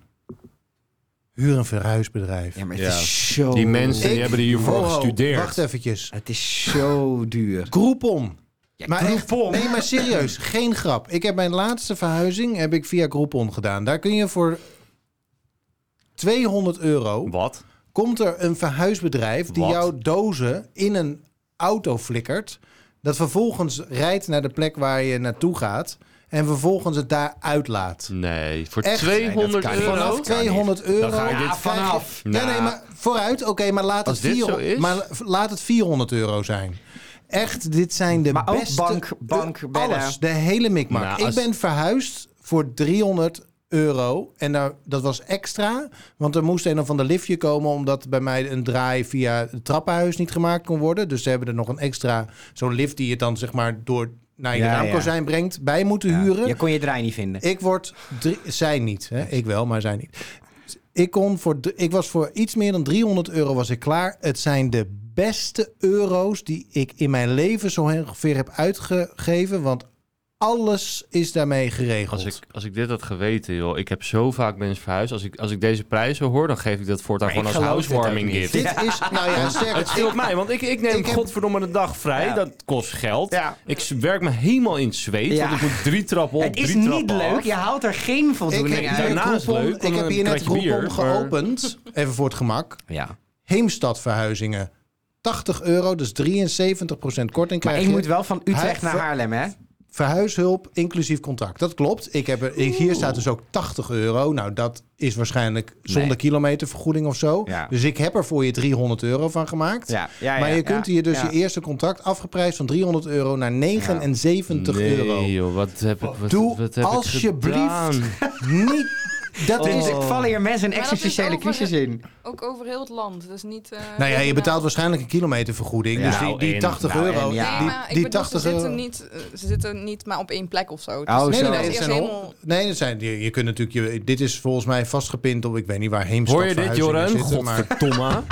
B: Huur een verhuisbedrijf.
A: ja, maar het
D: Ja.
A: is zo...
D: Die mensen
B: Ik-
D: die hebben hiervoor
B: Wow,
D: gestudeerd.
B: Wacht eventjes.
A: Het is zo duur.
B: Groupon.
A: Ja,
B: Maar echt,
A: Groupon.
B: nee, maar serieus, geen grap. Ik heb mijn laatste verhuizing heb ik via Groupon gedaan. Daar kun je voor 200 euro
D: Wat?
B: komt er een verhuisbedrijf die
D: Wat?
B: jouw dozen in een auto flikkert. Dat vervolgens rijdt naar de plek waar je naartoe gaat en vervolgens het daar uitlaat.
D: Nee, voor
B: Echt? Nee, dat
D: 200
A: kan niet.
D: euro?
A: Kan
B: Vanaf
A: niet.
B: 200 euro.
D: Dan ga ik dit
B: krijg je-
D: vanaf.
B: Nee,
D: Nou.
B: nee, maar vooruit. Oké, maar, laat het
D: Als dit zo
B: 400
D: is?
B: maar laat het 400 euro zijn. Echt, dit zijn de
A: Maar ook
B: beste...
A: bank- bank,
B: eh,
A: bedden.
B: Alles, de hele mikmak.
D: Nou,
B: Ik
D: als-
B: ben verhuisd voor 300 euro. En daar, dat was extra, want er moest een of ander liftje komen... omdat bij mij een draai via het trappenhuis niet gemaakt kon worden. Dus ze hebben er nog een extra... zo'n lift die je dan zeg maar door naar je
A: Ja,
B: raamkozijn brengt... bij moeten huren.
A: Je kon je draai niet vinden.
B: Ik word drie, zij niet, hè? ik wel, maar zij niet. Ik, kon voor, d- ik was voor iets meer dan 300 euro was ik klaar. Het zijn de beste euro's die ik in mijn leven zo ongeveer heb uitgegeven. Want alles is daarmee geregeld.
D: Als ik, als ik dit had geweten, joh. Ik heb zo vaak mensen verhuisd. Als ik, als ik deze prijzen hoor, dan geef ik dat voortaan
A: Maar
D: gewoon
A: ik
D: als
A: geloof dit ook
D: housewarming
A: niet.
D: gift.
B: Dit is, nou ja,
D: Het
B: sterk.
D: scheelt *laughs* mij, want ik, ik neem
B: ik heb-
D: godverdomme de dag vrij. Dat kost geld.
A: Ja.
D: Ik s- werk me helemaal in het zweet,
A: Ja.
D: want ik moet drie trappen op,
A: het is
D: drie
A: niet
D: trappen af.
A: leuk. Je haalt er geen voldoening
B: ik
A: uit.
B: heb hier,
D: Daarna is
B: Groupon-
D: leuk, dan
B: ik heb hier net
D: krijg je bier,
B: Groupon
D: maar-
B: geopend, even voor het gemak.
A: Ja.
B: Heemstad verhuizingen. 80 euro, dus 73% korting
A: Maar
B: krijg
A: ik
B: je.
A: moet wel van Utrecht
B: Hij-
A: naar Haarlem, hè?
B: Verhuishulp inclusief contact. Dat klopt. Ik heb er, ik- hier staat dus ook 80 euro. Nou, dat is waarschijnlijk zonder
A: Nee.
B: kilometervergoeding of zo.
A: Ja.
B: Dus ik heb er voor je 300 euro van gemaakt.
A: Ja. ja, ja
B: maar je
A: ja,
B: kunt hier dus
A: ja.
B: je eerste contract afgeprijsd van 300 euro naar 79
D: nee,
B: euro.
D: joh, wat heb ik wat,
B: Doe
D: wat heb ik
B: alsjeblieft
D: gedaan?
B: Niet Dat
A: Dus
B: is...
A: er vallen hier mensen een
E: Maar dat is
A: existentiële
E: over-
A: crisis in.
E: Ook over heel het land. Dus niet. eh,
B: Nou ja, je
E: regionaal.
B: betaalt waarschijnlijk een kilometervergoeding.
A: Ja,
B: dus die, die
D: en-
B: 80
A: nou,
B: euro...
A: en ja.
E: Nee,
B: die,
E: maar ik
B: die
E: bedoel,
B: 80
E: ze zitten,
B: euro...
E: niet, eh, ze zitten niet maar op één plek of zo. Dus
A: Oh,
B: Nee,
A: zo.
B: nee, nee,
E: dat
B: het
E: is
B: zijn
E: helemaal-
B: hol- nee, dat zijn, je, je kunt natuurlijk, je, dit is volgens mij vastgepind op, ik weet niet waar Heemstad
D: Hoor je dit,
B: verhuizingen
D: Joran?
B: zitten, maar-
D: Godverdomme.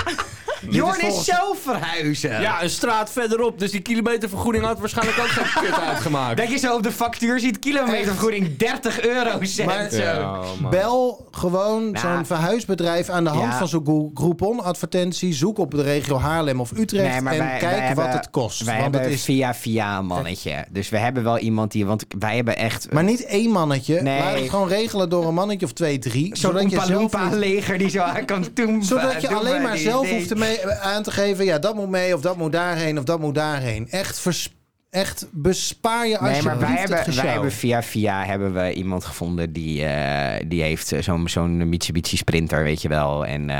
A: Jorn is
B: volgens-
A: zo verhuizen.
D: Ja, een straat verderop. Dus die kilometervergoeding had waarschijnlijk ook geen kut uitgemaakt.
A: Dat je zo op de factuur ziet, kilometervergoeding 30 euro cent.
B: Maar-
A: zo.
B: Bel gewoon
A: Nou.
B: zo'n verhuisbedrijf aan de hand
A: Ja.
B: van zo'n Goo- Groupon-advertentie. Zoek op de regio Haarlem of Utrecht
A: Nee, maar
B: en
A: wij- wij
B: kijk wat
A: hebben-
B: het kost.
A: Wij
B: Want
A: hebben
B: het is,
A: via via een mannetje. Dus we hebben wel iemand die... Want wij hebben echt...
B: maar niet één mannetje.
A: Nee.
B: Laat het gewoon regelen door een mannetje of twee, drie.
A: Zo'n
B: zodat je, zelf,
A: Oompa
B: niet-
A: leger die zo aan
B: *laughs*
A: kan doen.
B: zodat je
A: doen
B: alleen
A: we
B: maar
A: die
B: zelf
A: ding.
B: hoeft ermee aan te geven... ja, dat moet mee of dat moet daarheen of dat moet daarheen. Echt, vers, echt bespaar je
A: Nee,
B: alsjeblieft
A: maar wij
B: het
A: hebben, wij
B: gesjouw.
A: hebben via via hebben we iemand gevonden die, eh, die heeft eh, zo'n zo'n Mitsubishi Sprinter, weet je wel. En, eh,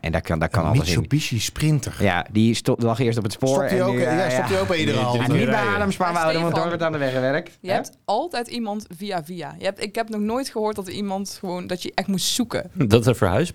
A: en daar kan, daar kan
B: Een
A: alles in.
B: Mitsubishi Sprinter.
A: Ja, die stop, lag eerst op het spoor.
B: Stopt hij
A: en
B: ook,
A: nu, eh,
B: ja, stopt hij ook bij iedere
D: Nee,
B: halte.
A: Ah, niet bij
D: Rijden.
A: Adams, maar we
E: Maar
A: houden hem
E: Stefan,
A: door het aan de weg werkt.
E: Je hebt altijd iemand via via. Je hebt, ik heb nog nooit gehoord dat er iemand gewoon dat je echt moest zoeken.
D: Dat er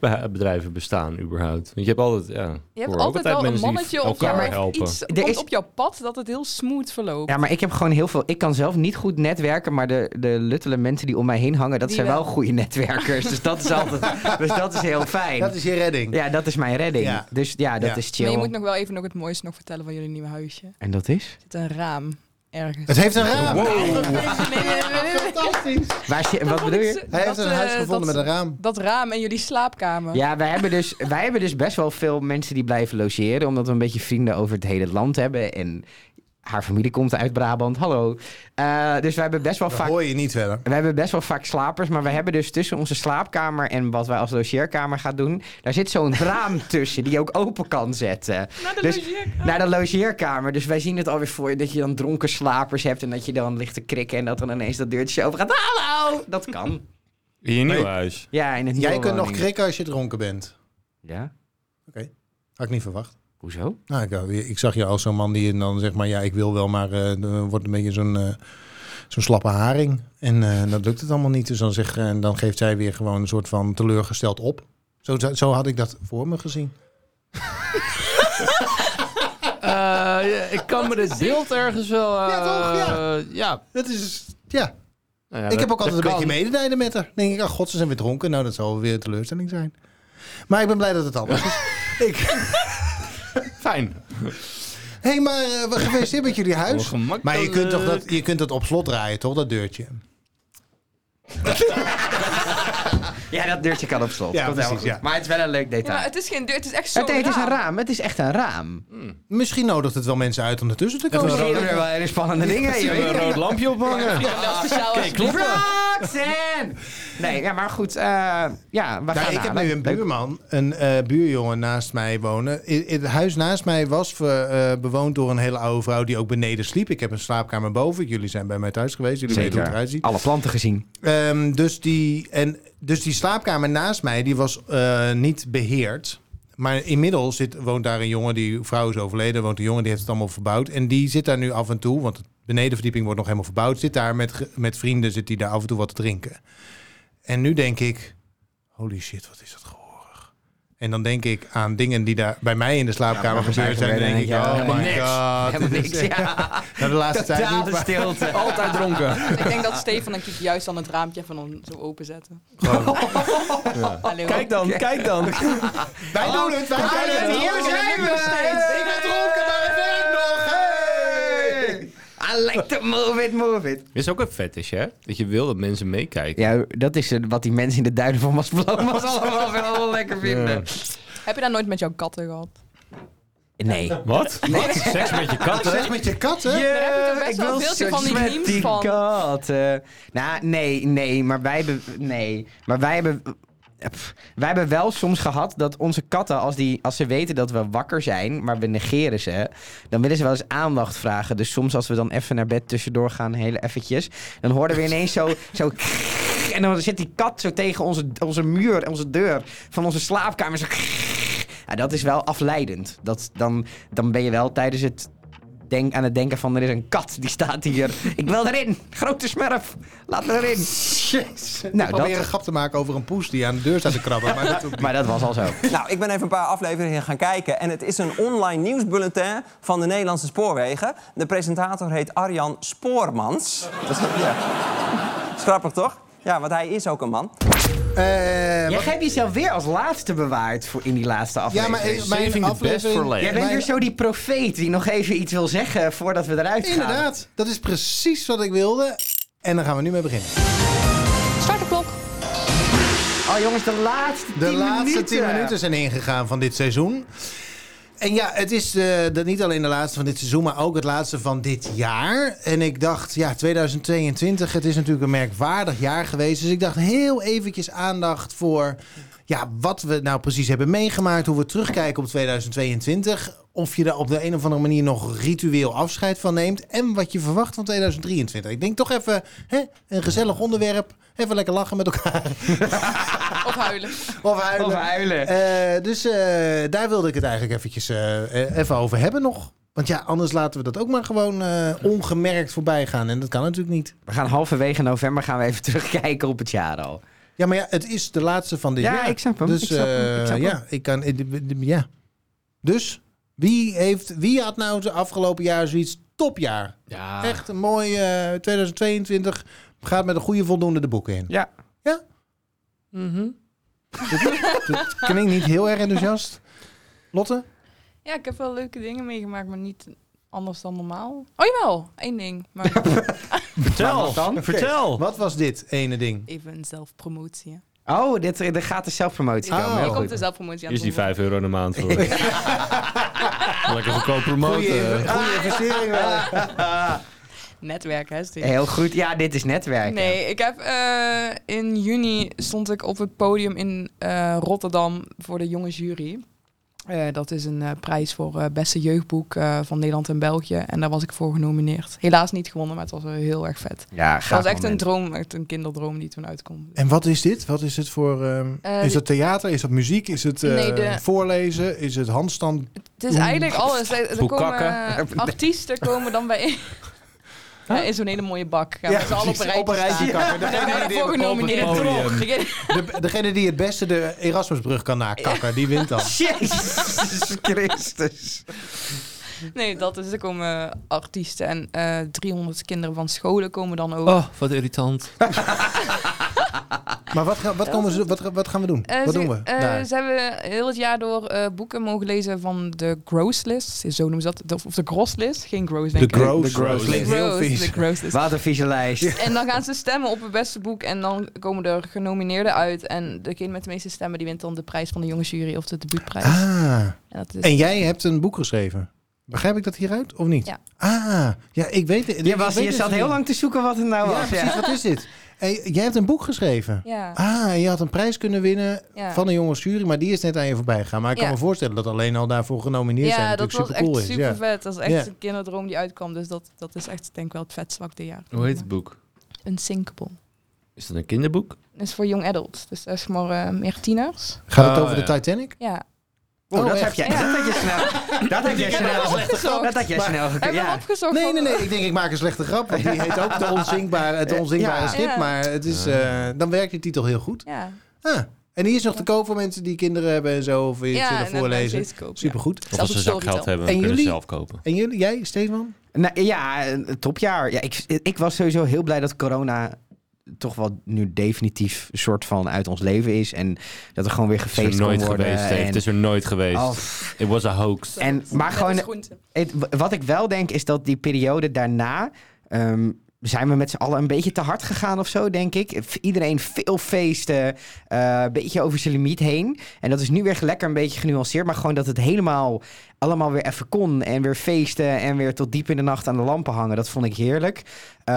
D: verhuisbedrijven bestaan überhaupt. Want je hebt altijd, ja,
E: Je hebt
D: hoor ook
E: altijd wel een
D: mensen die
E: mannetje of
D: elkaar
E: ja, maar
D: helpen.
E: iets
A: Er
E: komt
A: is-
E: op jouw pad dat het heel smooth verloopt.
A: Ja, maar ik heb gewoon heel veel. Ik kan zelf niet goed netwerken, maar de, de luttele mensen die om mij heen hangen, dat
E: Die
A: zijn wel
E: wel.
A: goede netwerkers. dus
B: *laughs*
A: dat is altijd. Dus dat is heel fijn.
B: Dat is je redding.
A: Ja, dat is mijn redding.
B: Ja.
A: Dus ja, dat
B: Ja.
A: is
E: Maar
A: chill.
E: je moet nog wel even nog het mooiste nog vertellen van jullie nieuwe huisje. Er
A: En dat is?
E: zit een raam ergens. *laughs*
B: Het heeft een raam.
E: Nee, nee, nee, nee, nee.
B: Fantastisch.
A: Waar,
E: *laughs*
A: zit- wat bedoel je?
B: Hij heeft
E: Dat,
B: een huis
E: eh,
B: gevonden
E: dat-
B: met een raam.
E: Dat raam en jullie slaapkamer.
A: Ja, wij hebben, dus, wij hebben dus best wel veel mensen die blijven logeren. Omdat we een beetje vrienden over het hele land hebben. En haar familie komt uit Brabant. Hallo. Eh, dus wij hebben best wel
B: Dat
A: vaak.
B: hoor je niet verder.
A: We hebben best wel vaak slapers, maar we hebben dus tussen onze slaapkamer en wat wij als logeerkamer gaan doen, daar zit
E: *laughs*
A: zo'n raam tussen die je ook open kan zetten.
E: Naar de
A: Dus-
E: logeerkamer.
A: Naar de logeerkamer. Dus wij zien het alweer voor je dat je dan dronken slapers hebt en dat je dan ligt te krikken en dat dan ineens dat deurtje open gaat. Hallo! Dat kan.
D: In je nieuw
B: Maar-
D: huis.
A: Ja, in het
B: Jij
A: nieuwe
B: kunt nog
A: woning.
B: krikken als je dronken bent.
A: Ja?
B: Had ik niet verwacht.
A: Hoezo?
B: Nou, ik, ik zag je als zo'n man die dan zegt, maar ja, ik wil wel, maar eh, dan wordt een beetje zo'n eh, zo'n slappe haring. En eh, dat lukt het allemaal niet. Dus dan, zeg, en dan geeft zij weer gewoon een soort van teleurgesteld op. Zo, zo had ik dat voor me gezien.
D: Eh, ik kan me dit beeld ergens wel... eh,
B: Ja, toch? Ja.
D: ja. Nou
B: Dat is, ja. ik heb ook altijd een beetje medelijden met haar. Dan denk ik, ach god, ze zijn weer dronken. Nou, dat zal weer een teleurstelling zijn. Maar ik ben blij dat het anders is. ik,
D: Fijn.
B: hé, hey, maar eh, we gefeliciteerd met jullie huis.
D: Ongemakkelijk.
B: Maar je kunt, toch dat, je kunt dat op slot draaien, toch? Dat deurtje.
A: Ja, dat deurtje kan op slot.
B: Ja,
A: Komt helemaal
B: precies,
A: goed.
B: ja.
A: Maar het is wel een leuk
E: Ja,
A: detail.
E: maar het is geen deur, het is Oh, echt zo.
A: het, het is een raam, het is echt een raam.
B: Misschien nodigt het wel mensen uit om ertussen te komen.
A: Misschien hebben we wel hele spannende dingen. je
D: Je
A: weet
D: een rood lampje ophangen.
E: Ja, wel speciaal.
D: Kijk, kloppen.
A: Roxanne! Nee, ja, maar goed. eh, ja, we
B: Nou,
A: gaan
B: ik heb
A: halen.
B: nu een
A: Leuk.
B: buurman, een eh, buurjongen naast mij wonen. I- i- het huis naast mij was ver- eh, bewoond door een hele oude vrouw die ook beneden sliep. Ik heb een slaapkamer boven. Jullie zijn bij mij thuis geweest. Jullie weten hoe het eruit
A: Zeker.
B: ziet.
A: Alle planten gezien.
B: Ehm, dus, die, en, dus die slaapkamer naast mij, die was eh, niet beheerd. Maar inmiddels zit, woont daar een jongen, die vrouw is overleden, woont een jongen, die heeft het allemaal verbouwd. En die zit daar nu af en toe, want de benedenverdieping wordt nog helemaal verbouwd, zit daar met, ge- met vrienden, zit die daar af en toe wat te drinken. En nu denk ik, holy shit, wat is dat gehoorig. En dan denk ik aan dingen die daar bij mij in de slaapkamer
A: Ja, maar
B: gebeurd zijn. Dan denk ik,
A: ja,
B: oh
A: helemaal
B: my
A: niks.
B: god.
A: Helemaal niks.
B: *laughs*
A: Ja,
B: Nou, de laatste tijd dus- niet,
A: totale
B: maar *laughs*
A: stilte.
D: Altijd dronken.
E: Ik denk dat Stefan en Kiki juist dan het raampje even dan zo openzetten. *laughs*
B: gewoon-
E: Allee, hoor.
D: Kijk dan, kijk dan.
B: Wij doen het, wij
A: Ah,
B: doen het.
A: Hier zijn we!
B: Ik ben dronken, maar ik werk nog. Hey!
A: I like to move it, move it.
D: Dit is ook een fetish, hè? Dat je wil dat mensen meekijken.
A: Ja, dat is eh, wat die mensen in de duinen van *laughs* Maspalomas allemaal wel allemaal lekker vinden.
E: Heb je daar nooit met jouw katten gehad?
A: Nee.
D: *laughs* Wat? Wat? Seks met je katten?
B: Zeg met je kat, hè?
A: Ja,
E: heb je toch best wel veel
A: seks
E: van die
A: met
E: memes
A: die
E: van.
A: katten. Nou, nee, nee, maar wij hebben... Nee, maar wij hebben... pff, Wij hebben wel soms gehad dat onze katten, als, die, als ze weten dat we wakker zijn, maar we negeren ze, dan willen ze wel eens aandacht vragen. Dus soms als we dan even naar bed tussendoor gaan, heel eventjes, dan hoorden we ineens
E: *laughs*
A: zo... zo en dan zit die kat zo tegen onze, onze muur, onze deur van onze slaapkamer. Zo ja, dat is wel afleidend. Dat, dan, dan ben je wel tijdens het denk, aan het denken van... er is een kat, die staat hier. Ik wil erin. Grote smurf. Laat me erin.
B: Jezus.
A: Nou,
B: Nou, proberen
A: dat-
B: een grap te maken over een poes die aan de deur staat te krabben. Maar dat ook niet.
A: Maar dat was al zo.
F: Nou, ik ben even een paar afleveringen gaan kijken. En het is een online nieuwsbulletin van de Nederlandse Spoorwegen. De presentator heet Arjan Spoormans. Dat is, ja. *laughs* Dat is grappig, toch? Ja, want hij is ook een man.
B: Eh,
A: Jij
B: wat-
A: hebt jezelf weer als laatste bewaard voor in die laatste
B: ja,
A: aflevering.
B: maar eh,
D: Saving the
B: mijn
D: best for
B: aflevering...
D: later.
A: Jij bent
B: mijn-
A: weer zo die profeet die nog even iets wil zeggen voordat we eruit gaan.
B: Inderdaad, dat is precies wat ik wilde. En daar gaan we nu mee beginnen.
E: Start de klok.
A: Oh jongens, de laatste 10
B: De
A: minuten.
B: laatste 10 minuten zijn ingegaan van dit seizoen. En ja, het is eh, de, niet alleen de laatste van dit seizoen, maar ook het laatste van dit jaar. En ik dacht, ja, 2022, het is natuurlijk een merkwaardig jaar geweest. Dus ik dacht heel eventjes aandacht voor ja, wat we nou precies hebben meegemaakt. Hoe we terugkijken op 2022. Of je daar op de een of andere manier nog ritueel afscheid van neemt. En wat je verwacht van 2023. Ik denk toch even, hè, een gezellig onderwerp. Even lekker lachen met elkaar.
E: Of huilen.
B: Of huilen.
A: Of huilen.
B: Eh, dus eh, daar wilde ik het eigenlijk eventjes eh, eh, even over hebben nog. Want ja, anders laten we dat ook maar gewoon eh, ongemerkt voorbij gaan. En dat kan natuurlijk niet.
A: We gaan halverwege november gaan we even *laughs* terugkijken op het jaar al.
B: Ja, maar ja, het is de laatste van dit
A: Ja,
B: jaar.
A: ik snap hem.
B: Dus
A: Ik snap hem. Ik
B: eh,
A: snap hem.
B: ja, ik kan... eh, d- d- ja. Dus, wie, heeft, wie had nou het afgelopen jaar zoiets topjaar?
A: Ah.
D: Ja.
B: Echt een mooi eh, 2022. Gaat met een goede voldoende de boeken in.
A: Ja.
B: Ja?
E: Mhm.
B: Dat klinkt niet heel erg enthousiast. Lotte?
E: Ja, ik heb wel leuke dingen meegemaakt, maar niet anders dan normaal. Oh jawel, één ding. *laughs* Maar
A: Maar wat dan?
C: vertel.
B: Wat was dit ene ding?
E: even een zelfpromotie.
A: Oh, dit, er gaat de zelfpromotie
B: Ah.
A: komen. Heel
E: Ik
A: goed.
E: komt dus de zelfpromotie aan
C: Hier is die
E: het
C: 5 euro in de maand
B: *laughs*
C: voor. Lekker goedkoop
D: eh.
C: promoten.
B: Goede investering wel.
E: worden. Netwerken, hè, Steve.
A: Heel goed. Ja, dit is netwerken.
E: Nee, ik heb eh, in juni stond ik op het podium in eh, Rotterdam voor de jonge jury. Eh, dat is een eh, prijs voor eh, beste jeugdboek eh, van Nederland en België. En daar was ik voor genomineerd. Helaas niet gewonnen, maar het was wel heel erg vet.
A: Ja,
E: Het
A: gaaf
E: was echt
A: moment.
E: een droom, echt een kinderdroom die toen
B: *laughs*
E: uitkwam.
B: En wat is dit? Wat is het voor... ehm,
E: Eh,
B: is het theater? Is dat muziek? Is het eh,
E: Nee, de-
B: voorlezen? Is het handstand?
E: Het is eigenlijk alles. Er er komen
A: Boekakken.
E: eh, *laughs* artiesten komen dan bij. Ja, in zo'n hele mooie bak. Gaan we ze allemaal op een
B: precies.
E: rijtje, *laughs* staan.
B: kakken.
E: Daar ben
B: Degene,
E: ik
B: die,
E: voor genomineerd.
C: podium.
E: Degene-
B: de- degene die het beste de Erasmusbrug kan nakakken, die wint dan.
A: Jezus Christus.
E: Nee, dat is. Er komen artiesten en eh 300 kinderen van scholen komen dan ook.
D: Oh, wat irritant.
B: *laughs* Maar wat, gaan- wat, komen ze, wat, wat gaan we doen?
E: Eh,
B: wat
E: ze,
B: doen we?
E: eh,
B: daar?
E: ze hebben heel het jaar door eh, boeken mogen lezen van de Gross List. Zo noemen ze dat. De- Of de Gross List. Geen Gross, denk ik.
B: Gross.
C: de Gross.
B: Klinkt
E: Gross,
B: heel vies.
E: De
B: *laughs*
E: Gross List.
A: Wat een vieze lijst.
E: En dan gaan ze stemmen op het beste boek. En dan komen er genomineerden uit. En degene met de meeste stemmen die wint dan de prijs van de jonge jury of de debuutprijs.
B: Ah,
E: En dat is
B: en jij hebt een boek geschreven. Begrijp ik dat hieruit of niet?
E: Ja.
B: Ah, ja, ik weet het.
A: Je,
B: ik
A: was,
B: weet
A: je
B: het
A: zat
B: niet.
A: heel lang te zoeken wat het nou
B: Ja,
A: was.
B: precies. Wat is dit? Eh, jij hebt een boek geschreven.
E: ja.
B: Ah, en je had een prijs kunnen winnen
E: Ja.
B: van een jonge jury, maar die is net aan je voorbij gegaan. Maar ik kan
E: Ja.
B: me voorstellen dat alleen al daarvoor genomineerd zijn
E: ja, dat
B: natuurlijk
E: was
B: super cool
E: echt
B: is.
E: super
B: Ja.
E: vet. Dat was echt
B: Ja.
E: een kinderdroom die uitkwam. Dus dat, dat is echt denk ik wel het vetste wat ik dit jaar.
D: Hoe heet het boek?
E: Unsinkable.
D: Is dat een kinderboek?
E: Dat is voor young adults. Dus dat is maar eh, meer tieners.
B: Gaat het
D: Oh,
B: over de
D: ja.
B: Titanic?
E: Ja.
A: Oh,
B: Oh,
A: dat,
B: echt?
A: heb jij, dat had je snel. Dat had jij snel.
E: opgezocht.
A: Dat had jij snel gekund.
E: Hebben we
A: Ja.
E: opgezocht?
B: Nee, nee, nee. Ik denk, ik maak een slechte grap. Want die heet ook de onzinkbare, het onzinkbare
A: *laughs* Ja.
B: schip.
E: Ja.
B: Maar het is, eh, dan werkt die titel heel goed.
E: Ja.
B: Ah, en die is nog te koop voor mensen die kinderen hebben en zo. Of iets
E: ja,
B: willen voorlezen. Supergoed.
C: Of
E: Dat
C: als
E: is
C: ze
E: storytel.
C: zakgeld hebben,
B: En
C: kunnen ze
B: jullie?
C: zelf kopen.
B: En jullie, jij, Stefan?
A: Nou, ja, een topjaar. Ja, ik, ik was sowieso heel blij dat corona toch wel nu definitief een soort van uit ons leven is. En dat er gewoon weer
D: Het is er
A: gefeest
D: nooit
A: kon worden.
D: geweest, Dave.
A: en,
D: Het is er nooit geweest.
A: Oh, pff.
D: It was a hoax.
A: en, maar gewoon Het- w- wat ik wel denk is dat die periode daarna. ehm, zijn we met z'n allen een beetje te hard gegaan of zo, denk ik. V- Iedereen veel feesten, eh, een beetje over zijn limiet heen. En dat is nu weer lekker een beetje genuanceerd. Maar gewoon dat het helemaal allemaal weer even kon. En weer feesten en weer tot diep in de nacht aan de lampen hangen. Dat vond ik heerlijk.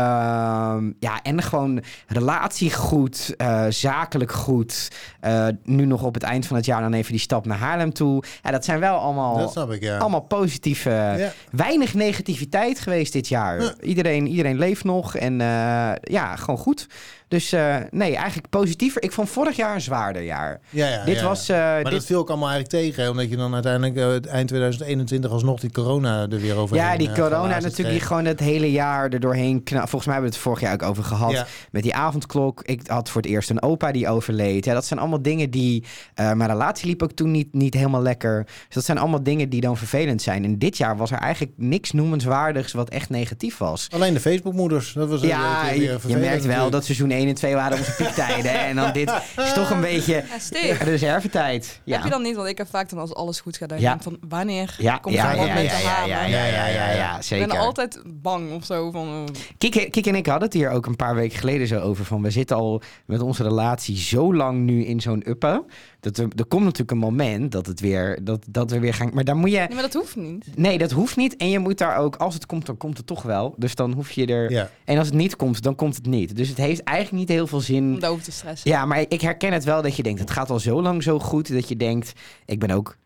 A: Ehm, ja, en gewoon relatie goed, eh, zakelijk goed. Eh, nu nog op het eind van het jaar dan even die stap naar Haarlem toe. Ja, dat zijn wel allemaal... eh,
B: Dat snap ik, ja.
A: Allemaal positieve,
B: Ja.
A: weinig negativiteit geweest dit jaar. Iedereen, iedereen leeft nog. nog. En eh, ja, gewoon goed. Dus eh, nee, eigenlijk positiever. Ik vond vorig jaar een zwaarder jaar.
B: Ja, ja,
A: dit
B: ja, ja.
A: was... eh,
B: Maar
A: dit-
B: dat viel ik allemaal eigenlijk tegen. hè, Omdat je dan uiteindelijk eh, eind 2021 alsnog die corona er weer eh, over
A: ja, die corona natuurlijk, die gewoon het hele jaar er doorheen kna- Volgens mij hebben we het vorig jaar ook over gehad.
B: Ja.
A: Met die avondklok. Ik had voor het eerst een opa die overleed. Ja, dat zijn allemaal dingen die... eh, mijn relatie liep ook toen niet, niet helemaal lekker. Dus dat zijn allemaal dingen die dan vervelend zijn. En dit jaar was er eigenlijk niks noemenswaardigs wat echt negatief was.
B: Alleen de Facebookmoeders, dat was
A: Ja,
B: eh, weer
A: je, je
B: vervelend
A: merkt wel
B: natuurlijk.
A: dat seizoen 1 en 2 waren onze piektijden. hè. en dan dit is toch een beetje
E: Ja, Steve.
A: reservetijd. Ja.
E: Heb je dan niet, want ik heb vaak dan als alles goed gaat, dat
A: Ja.
E: ik denk van wanneer
A: ja,
E: komt
A: ja,
E: er wat
A: ja, ja,
E: mee te
A: ja,
E: halen?
A: ja, ja, ja, ja, ja,
E: Ik
A: zeker.
E: ben altijd bang of zo. Van, eh,
A: Kik, Kik en ik hadden het hier ook een paar weken geleden zo over. Van we zitten al met onze relatie zo lang nu in zo'n uppen. Dat er, er komt natuurlijk een moment dat, het weer, dat, dat we weer gaan. Maar daar moet je.
E: nee, maar dat hoeft niet.
A: Nee, dat hoeft niet. En je moet daar ook. Als het komt, dan komt het toch wel. Dus dan hoef je er.
B: Ja.
A: En als het niet komt, dan komt het niet. Dus het heeft eigenlijk niet heel veel
E: Om
A: zin.
E: daarover te stressen.
A: Ja, maar ik herken het wel dat je denkt: het gaat al zo lang zo goed. Dat je denkt: ik ben ook.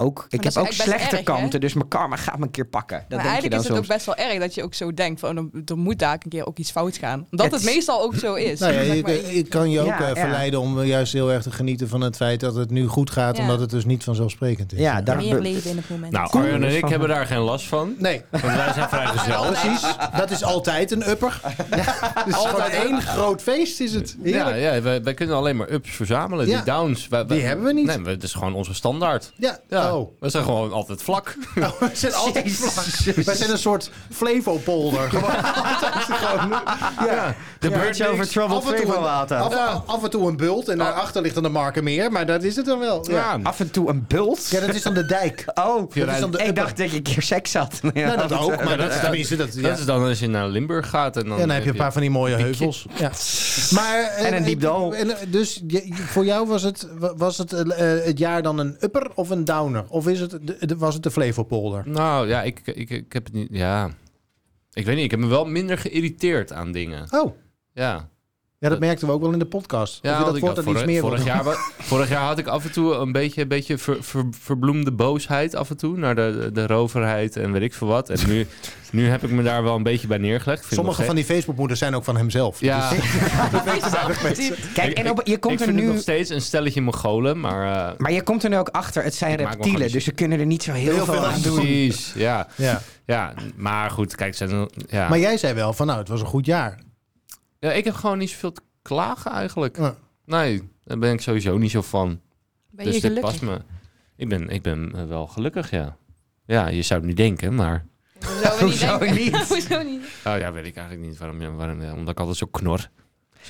A: ook ik
E: dat
A: heb
E: is
A: ook
E: eigenlijk best
A: slechte
E: erg, hè?
A: kanten. Dus mijn karma gaat me een keer pakken. Dat
E: maar
A: denk je
E: eigenlijk
A: dan
E: is het
A: soms.
E: ook best wel erg dat je ook zo denkt van, oh, dan- er moet daar een keer ook iets fout gaan. Omdat
A: Het
E: het,
A: is-
E: meestal ook zo is.
B: Nou ja,
E: Zeg
B: je,
E: maar,
B: ik kan je ook
A: Ja,
B: eh,
A: ja.
B: verleiden om juist heel erg te genieten van het feit dat het nu goed gaat,
E: Ja.
B: omdat het dus niet vanzelfsprekend is.
A: Ja, daar,
G: Meer leven in het moment.
D: Nou,
A: Cool.
D: Arjan en ik
A: Van-
D: hebben daar geen last van.
B: Nee,
D: Want wij zijn
B: *laughs*
D: vrijgezel.
B: precies. Dat is altijd een
A: *laughs*
B: upper. *laughs* Ja, dus altijd één groot feest is het.
D: Ja,
B: Heerlijk.
D: ja wij, wij kunnen alleen maar ups verzamelen.
B: Ja.
D: Die downs. wij- wij-
B: Die hebben we niet.
D: Nee, we- het is gewoon onze standaard.
B: Ja,
D: Ja,
B: Oh. *laughs*
D: we zijn gewoon altijd vlak.
B: Nou, we zijn altijd vlak. Wij zijn een soort
A: *laughs*
B: flevopolder. Gewoon altijd gewoon. Ja.
A: De Bridge over Troubled
B: Af en toe een-
A: Flevowater.
B: Af, af en toe een bult en daarachter ligt dan de Markermeer. Maar dat is het dan wel. Ah. Ja,
D: Ja.
A: Af en toe een bult.
B: ja dat is dan de dijk.
A: Oh,
B: Dat is dan de
A: ik
B: upper.
A: dacht dat je een keer seks had.
B: Nou, dat ook. Maar dat,
D: dat-
B: tenminste, dat, ja.
D: Dat is dan als je naar Limburg gaat. En dan,
B: Ja, dan heb je een paar van die mooie heuvels. Ja. Maar, eh,
A: En een diep dal.
B: en, eh, dus je- je- voor jou was het, wa- was het, eh, eh, het jaar dan een upper of een downer? Of is het, de- de- was het de Flevopolder?
D: Nou ja, ik, ik, ik heb het niet... Ja. Ik weet niet, ik heb me wel minder geïrriteerd aan dingen.
B: Oh,
D: Ja.
B: ja, dat merkten we ook wel in de podcast.
D: Ja,
B: of je
D: want
B: dat
D: ik
B: woord
D: had
B: dan iets
D: vorig-
B: meer
D: vorig,
B: wilde-
D: jaar, wa-
B: *laughs*
D: vorig jaar had ik af en toe een beetje, een beetje ver- ver- verbloemde boosheid af en toe naar de, de roverheid en weet ik veel wat. En
B: *laughs*
D: nu, nu heb ik me daar wel een beetje bij neergelegd. Vind ik
B: Sommige
D: nog
B: van die Facebookmoeders zijn ook van hemzelf. *laughs*
D: ge- ja,
A: Kijk, en op, je
D: ik
A: komt er
D: vind het nog
A: nu...
D: steeds een stelletje Mongolen, maar... eh
A: Maar je komt er nu ook achter, het zijn
D: Ik maak me gewoon
A: reptielen,
D: niet-
A: dus ze kunnen er niet zo heel,
B: Heel
A: veel
B: veel
A: aan
B: aan
A: doen.
D: precies, ja,
B: Ja.
D: ja. Maar goed, kijk, ze zijn, ja.
B: Maar jij zei wel van nou, het was een goed jaar.
D: ja, ik heb gewoon niet zoveel te klagen eigenlijk.
B: Ja.
D: Nee, daar ben ik sowieso niet zo van.
G: ben
D: dus dit
G: je gelukkig?
D: past me. Ik ben, ik ben eh, wel gelukkig, ja. Ja, je zou het niet denken, maar...
A: Hoezo
E: Hoezo niet? denken? *laughs*
A: niet?
E: Hoezo niet?
D: Oh ja, weet ik eigenlijk niet waarom. waarom omdat ik altijd zo knor.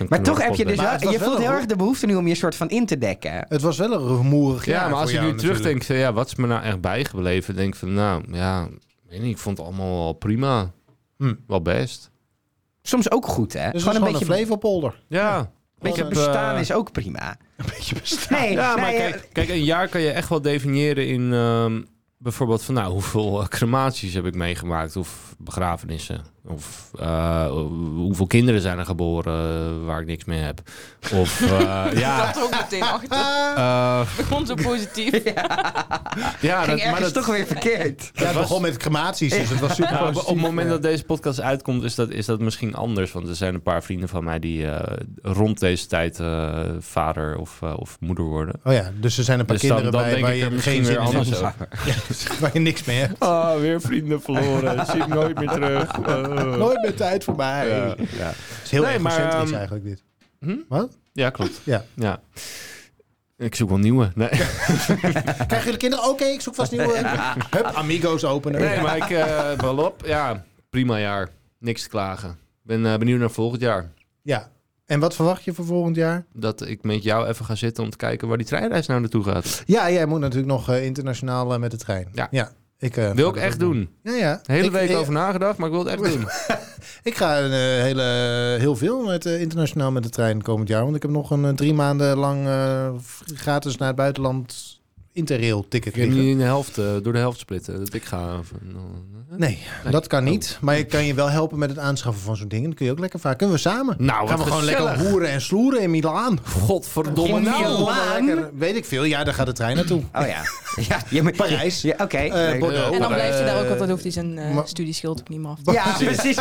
A: Maar toch heb je dus
B: Maar
A: wel,
B: het was
A: je
B: wel
A: voelt
B: een
A: heel
B: roe-
A: erg de behoefte nu om je soort van in te dekken.
B: Het was wel een rumoerig
D: Ja,
B: jaar.
D: maar als
B: voor
D: je nu
B: jou natuurlijk.
D: terugdenkt, eh, ja, wat is me nou echt bijgebleven? Denk ik van, nou ja, weet niet, ik vond het allemaal wel prima.
B: Hm.
D: Wel best.
A: Soms ook goed, hè?
B: Dus het is gewoon een, Flevopolder.
D: Ja. eh,
A: beetje
B: Gewoon een-
A: bestaan is ook prima.
B: eh, *laughs* een beetje bestaan.
A: Nee,
D: Ja,
A: nee,
D: maar
A: eh,
D: kijk, kijk, een jaar kan je echt wel definiëren in ehm, bijvoorbeeld van, nou, hoeveel eh, crematies heb ik meegemaakt? Of begrafenissen? Of eh, hoeveel kinderen zijn er geboren eh, waar ik niks mee heb? Of, eh,
A: *laughs*
D: ja...
E: Dat er ook meteen achter.
D: eh,
E: Begon zo positief.
D: ja,
A: ging
D: dat,
A: ergens
D: maar dat,
A: toch weer
B: *laughs*
A: verkeerd.
B: Ja, het begon met crematies, dus het was super
D: Nou, op, op
B: positief.
D: het moment
B: Ja.
D: dat deze podcast uitkomt, is dat, is dat misschien anders. Want er zijn een paar vrienden van mij die eh, rond deze tijd eh, vader of, eh, of moeder worden.
B: Oh ja, dus er zijn een paar
D: Dus dan,
B: kinderen bij
D: dan denk
B: waar
D: ik er
B: je
D: misschien
B: geen zin
D: weer
B: in
D: anders
B: hebt.
D: over.
B: *laughs* Waar je niks meer hebt.
D: Ah, weer vrienden *laughs* verloren. Zie ik nooit meer *laughs* terug. Oh.
B: Nooit meer tijd voor mij.
D: ja, ja.
B: Het is heel
D: Nee, maar,
B: egocentrisch
D: ehm,
B: eigenlijk dit.
D: Hm?
B: Wat?
D: Ja, klopt.
B: Ja.
D: ja. Ik zoek wel nieuwe. Nee,
B: Krijgen jullie kinderen? Oké, ik zoek vast
D: *laughs*
B: nieuwe. Hup, Amigos openen.
D: nee maar ik eh wel op. Ja, prima jaar. Niks te klagen. Ik ben eh, benieuwd naar volgend jaar.
B: Ja. En wat verwacht je voor volgend jaar?
D: Dat ik met jou even ga zitten om te kijken waar die treinreis nou naartoe gaat.
B: Ja, jij moet natuurlijk nog eh, internationaal eh, met de trein.
D: Ja.
B: Ik, eh,
D: Wil
B: ga
D: ik
B: dat
D: echt
B: ook
D: doen.
B: Ja, ja.
D: De hele
B: Ik-
D: week
B: ik,
D: over nagedacht, maar ik wil het echt doen.
B: Ik ga een, eh, hele, heel veel met, eh, internationaal met de trein komend jaar. Want ik heb nog een eh, drie maanden lang eh, gratis naar het buitenland Interrail-ticket
D: Ik heb
B: liggen.
D: niet in de helft, eh, door de helft splitten. Dat ik ga... eh,
B: Nee, dat kan
D: Oh.
B: niet. Maar ik kan je wel helpen met het aanschaffen van zo'n ding. Dat kun je ook lekker vaak. Kunnen we samen?
D: Nou, wat
B: gaan we gewoon
D: gezellig.
B: lekker hoeren en sloeren in Milaan.
D: Godverdomme
A: In
D: nou!
A: Milaan?
B: Gewoon lekker- Weet ik veel. Ja, daar gaat de trein naartoe.
A: Oh ja. ja je moet-
B: Parijs.
A: Ja, Oké.
B: Eh,
A: leuk.
B: Bordeaux.
E: En dan
D: Eh,
E: blijft hij daar ook, want dan hoeft hij zijn eh,
B: maar-
E: studieschild ook niet meer af te
A: ja, precies.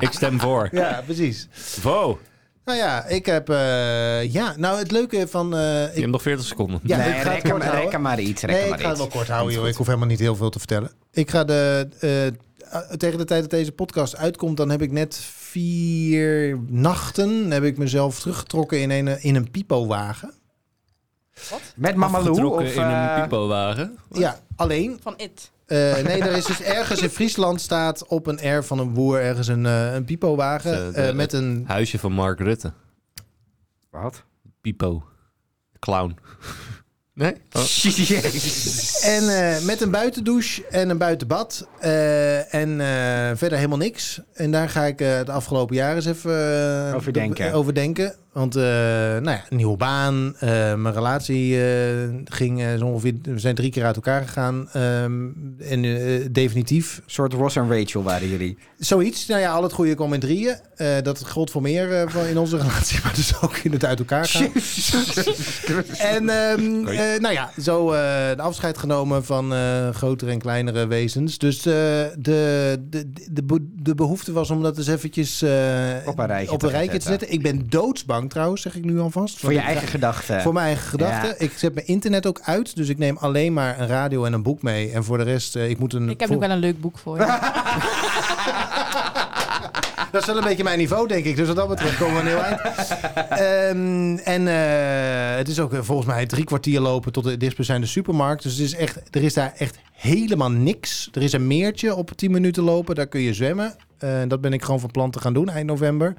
D: Ik stem voor.
B: Ja, precies.
D: Wow,
B: Nou ja, ik heb... eh, ja, nou het leuke van... eh,
D: je
B: ik,
D: hebt nog 40 seconden.
B: ja,
A: nee,
B: ik ga het
A: reken,
B: kort
A: maar,
B: houden.
A: reken maar iets. Reken
B: Nee, ik
A: maar
B: ga het
A: iets.
B: wel kort houden, joh. Ik hoef helemaal niet heel veel te vertellen. Ik ga de... eh, eh, tegen de tijd dat deze podcast uitkomt, dan heb ik net vier nachten... heb ik mezelf teruggetrokken in een, eh, in een pipowagen.
A: Met Mama Lou?
D: Afgetrokken
A: Of,
D: in een
A: eh,
D: pipowagen.
B: Ja, alleen...
E: Van It.
B: eh, nee, er
D: *laughs*
B: is dus ergens in Friesland staat op een R van een boer ergens een, eh, een pipowagen
D: De- de-
B: eh, met een...
D: Huisje van Mark Rutte.
A: *laughs* Wat?
D: Pipo. Clown. Nee?
A: Jezus.
B: En eh, met een buitendouche en een buitenbad. eh, en eh, verder helemaal niks. En daar ga ik eh de afgelopen jaar eens even eh,
A: Overdenken.
B: de- overdenken. Want eh, nou ja, een nieuwe baan. eh, mijn relatie eh, ging eh, zo ongeveer. We zijn drie keer uit elkaar gegaan. ehm, en eh, definitief.
A: Een soort Ross en Rachel waren jullie.
B: Zoiets. Nou ja, al het goede kwam in drieën. Eh, dat geldt voor meer eh, van in onze *laughs* relatie. Maar dus ook in het uit elkaar gaan. En ehm,
D: Hoi.
B: eh, nou ja, zo eh de afscheid genomen van eh, grotere en kleinere wezens. Dus eh, de, de, de, be- de behoefte was om dat eens eventjes eh,
A: Op een rijtje te gaan
B: rijtje te zetten. Ik ben doodsbang trouwens, zeg ik nu alvast.
A: Voor je
B: Want ik-
A: eigen gedachten.
B: Voor mijn eigen gedachten.
A: Ja.
B: Ik zet mijn internet ook uit, dus ik neem alleen maar een radio en een boek mee. En voor de rest, eh, ik moet een...
E: Ik heb
B: voor-
E: nog wel een leuk boek *laughs* voor je.
B: Dat is wel een beetje mijn niveau, denk ik. Dus wat dat betreft komen we een heel eind. Ehm, en eh, het is ook eh, volgens mij drie kwartier lopen tot de dichtstbijzijnde supermarkt. Dus het is echt, er is daar echt helemaal niks. Er is een meertje op 10 minuten lopen. Daar kun je zwemmen. Eh, dat ben ik gewoon van plan te gaan doen eind november.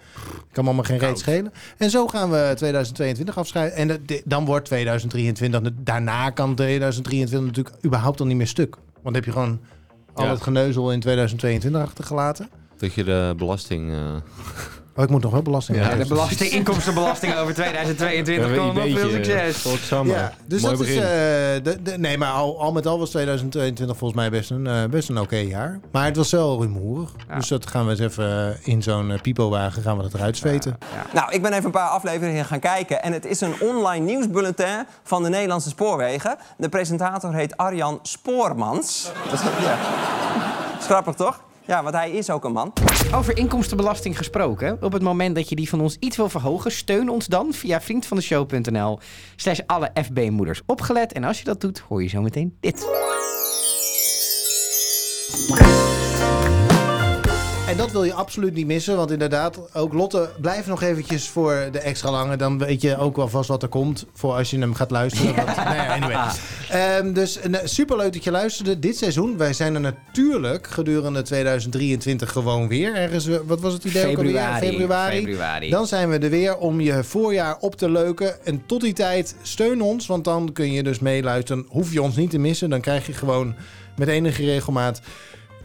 B: Kan me allemaal geen reet schelen. En zo gaan we 2022 afscheiden. En dat- di- dan wordt 2023... nat- Daarna kan 2023 natuurlijk überhaupt al niet meer stuk. Want dan heb je gewoon al
D: Ja.
B: het geneuzel in 2022 achtergelaten.
D: Dat je de belasting... eh,
B: Oh, ik moet nog wel belasting
A: Ja,
B: betalen.
A: de belasting, inkomstenbelasting
D: *laughs*
A: over 2022
D: een
A: komen. Veel
D: ideetje. eh,
A: succes.
D: Godsamme.
B: Ja, dus
D: Mooi
B: dat
D: begin.
B: is. eh, de, de- nee, maar al, al met al was 2022 volgens mij best een, eh, best een oké jaar. Maar het was wel rumoerig.
A: Ja.
B: Dus dat gaan we eens even eh, in zo'n eh, pipowagen gaan we dat eruit zweten.
F: Nou, ik ben even een paar afleveringen gaan kijken. En het is een online nieuwsbulletin van de Nederlandse Spoorwegen. De presentator heet Arjan Spoormans. Dat is, ja. is grappig, toch? Ja, want hij is ook een man.
A: Over inkomstenbelasting gesproken. Op het moment dat je die van ons iets wil verhogen, steun ons dan via vriendvandeshow.nl slash alle FB-moeders opgelet. En als je dat doet, hoor je zo meteen dit.
B: En dat wil je absoluut niet missen. Want inderdaad, ook Lotte, blijf nog eventjes voor de extra lange. Dan weet je ook wel vast wat er komt. Voor als je hem gaat luisteren. Want, nou ja, anyway. Ehm, dus eh, superleuk dat je luisterde dit seizoen. Wij zijn er natuurlijk gedurende 2023 gewoon weer. Ergens, eh, wat was het idee? ook alweer? Februari. Dan zijn we er weer om je voorjaar op te leuken. En tot die tijd steun ons, want dan kun je dus meeluisteren. Hoef je ons niet te missen. Dan krijg je gewoon met enige regelmaat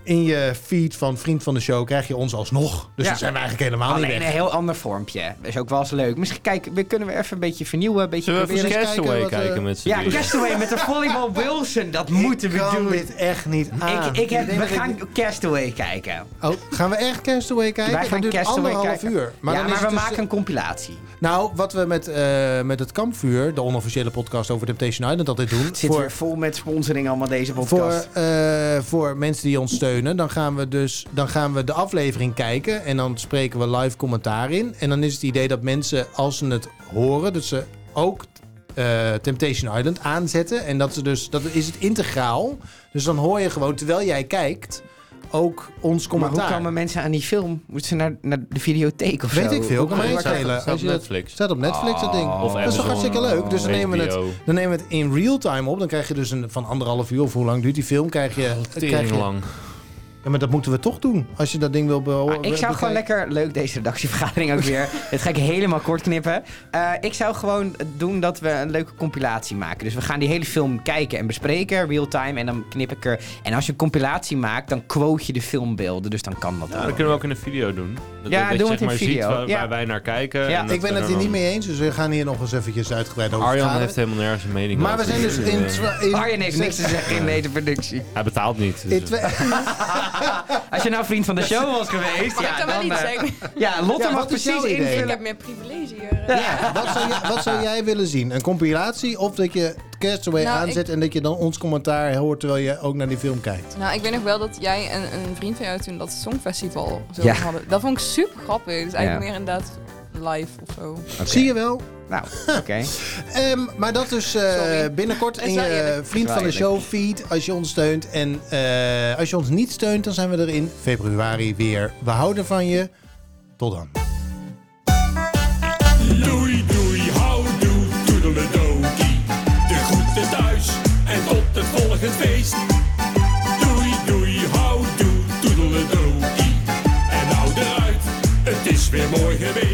B: in je feed van Vriend van de Show krijg je ons alsnog. Dus
A: Ja.
B: dan zijn we eigenlijk helemaal
A: Alleen eh,
B: niet
A: een
B: weg.
A: heel ander vormpje. Dat is ook wel eens leuk. Misschien kijk, we kunnen we even een beetje vernieuwen. Een beetje
D: Zullen we
A: proberen-
D: even
B: eens
D: Castaway
B: kijken
D: kijken,
B: wat, eh,
D: met z'n
A: Ja,
D: drieën?
A: Castaway met de volleybal Wilson. Dat moeten we
B: kan
A: doen.
B: dit echt niet aan.
A: Ik, ik heb,
B: denk
A: we
B: dat ik-
A: gaan Castaway kijken.
B: Oh, gaan we echt Castaway kijken?
A: Wij gaan
B: dat duurt
A: Castaway
B: anderhalf
A: kijken.
B: uur.
A: Maar ja,
B: dan
A: maar
B: is
A: we
B: het dus-
A: maken een compilatie.
B: Nou, wat we met, eh, met het kampvuur, de onofficiële podcast over Temptation Island, altijd doen.
A: Het zit weer vol met sponsoring allemaal deze
B: Voor,
A: podcast.
B: eh, voor mensen die ons steunen, dan gaan we dus dan gaan we de aflevering kijken en dan spreken we live commentaar in. En dan is het idee dat mensen, als ze het horen, dat ze ook eh, Temptation Island aanzetten. En dat ze dus, dat is het integraal. Dus dan hoor je gewoon, terwijl jij kijkt, ook ons
A: maar hoe
B: commentaar.
A: komen mensen aan die film? Moeten ze naar, naar de videotheek of zo?
B: Weet ik veel,
A: Hoe-
B: kan mij
D: het
B: niet
D: staat-
B: schelen.
D: het staat
B: Als je
D: op
B: dat-
D: Netflix.
B: Staat op Netflix, dat ding.
A: Of
B: dat is toch
D: Ah, Amazon.
B: hartstikke leuk. Dus dan nemen we het
D: HBO.
B: dan nemen we het in real time op. Dan krijg je dus een, van anderhalf uur of hoe lang duurt die film, krijg je, krijg
D: Tering
B: je
D: lang.
B: Ja, maar dat moeten we toch doen. Als je dat ding wil
A: Maar
B: behouden.
A: Ah, ik zou gewoon lekker, leuk deze redactievergadering ook
B: *laughs*
A: weer. Dit ga ik helemaal kort knippen. Eh, ik zou gewoon doen dat we een leuke compilatie maken. Dus we gaan die hele film kijken en bespreken, real time. En dan knip ik er. En als je een compilatie maakt, dan quote je de filmbeelden. Dus dat kan dat
D: dat
A: ook.
D: kunnen we ook in een video doen. Dat,
A: Ja, doen
D: dat je
A: we
D: zeg
A: het in
D: maar
A: video.
D: ziet waar,
A: Ja.
D: waar wij naar kijken.
A: Ja.
D: en dat
B: Ik ben
D: we
B: het
D: er
B: hier niet
D: dan-
B: mee eens, dus we gaan hier nog eens eventjes uitgebreid over
D: Arjan
B: vergaderen.
D: heeft helemaal nergens een mening
B: Maar we
D: over. eh,
B: zijn dus in... twa- in
A: Arjen heeft niks te zeggen in deze productie.
D: Hij betaalt niet. dus-
B: in twee-
A: Als je nou vriend
B: *laughs*
A: van de show was geweest.
E: Mag ik
A: Ja,
E: dat wel
A: dan,
E: niet
A: eh,
E: zeggen?
A: ja Lotte
B: Ja,
A: mag
B: wat is
A: precies
B: jouw idee?
E: Ik
A: invullen.
E: heb meer privilege hier.
B: Ja, *laughs* wat, zou jij, wat zou jij willen zien? Een compilatie of dat je Castaway
E: Nou,
B: aanzet en dat je dan ons commentaar hoort terwijl je ook naar die film kijkt?
E: Nou, ik weet nog wel dat jij en een vriend van jou toen dat Songfestival zo
A: Ja.
E: hadden. Dat vond ik super grappig. Dus eigenlijk
A: Ja.
E: meer inderdaad live of zo.
B: Zie je wel?
A: Nou, oké.
B: Ehm, maar dat dus eh,
E: Sorry.
B: binnenkort
E: Dat is
B: in
E: wel
B: je
E: eerlijk.
B: Vriend
A: Dat is
B: van de
A: wel
B: Show feed als je ons steunt. En eh, als je ons niet steunt, dan zijn we er in februari weer. We houden van je. Tot dan.
G: Doei, doei, houdoe, toedeledokie. De groeten thuis en tot het volgende feest. Doei, doei, houdoe, toedeledokie. En nou eruit, het is weer mooi geweest.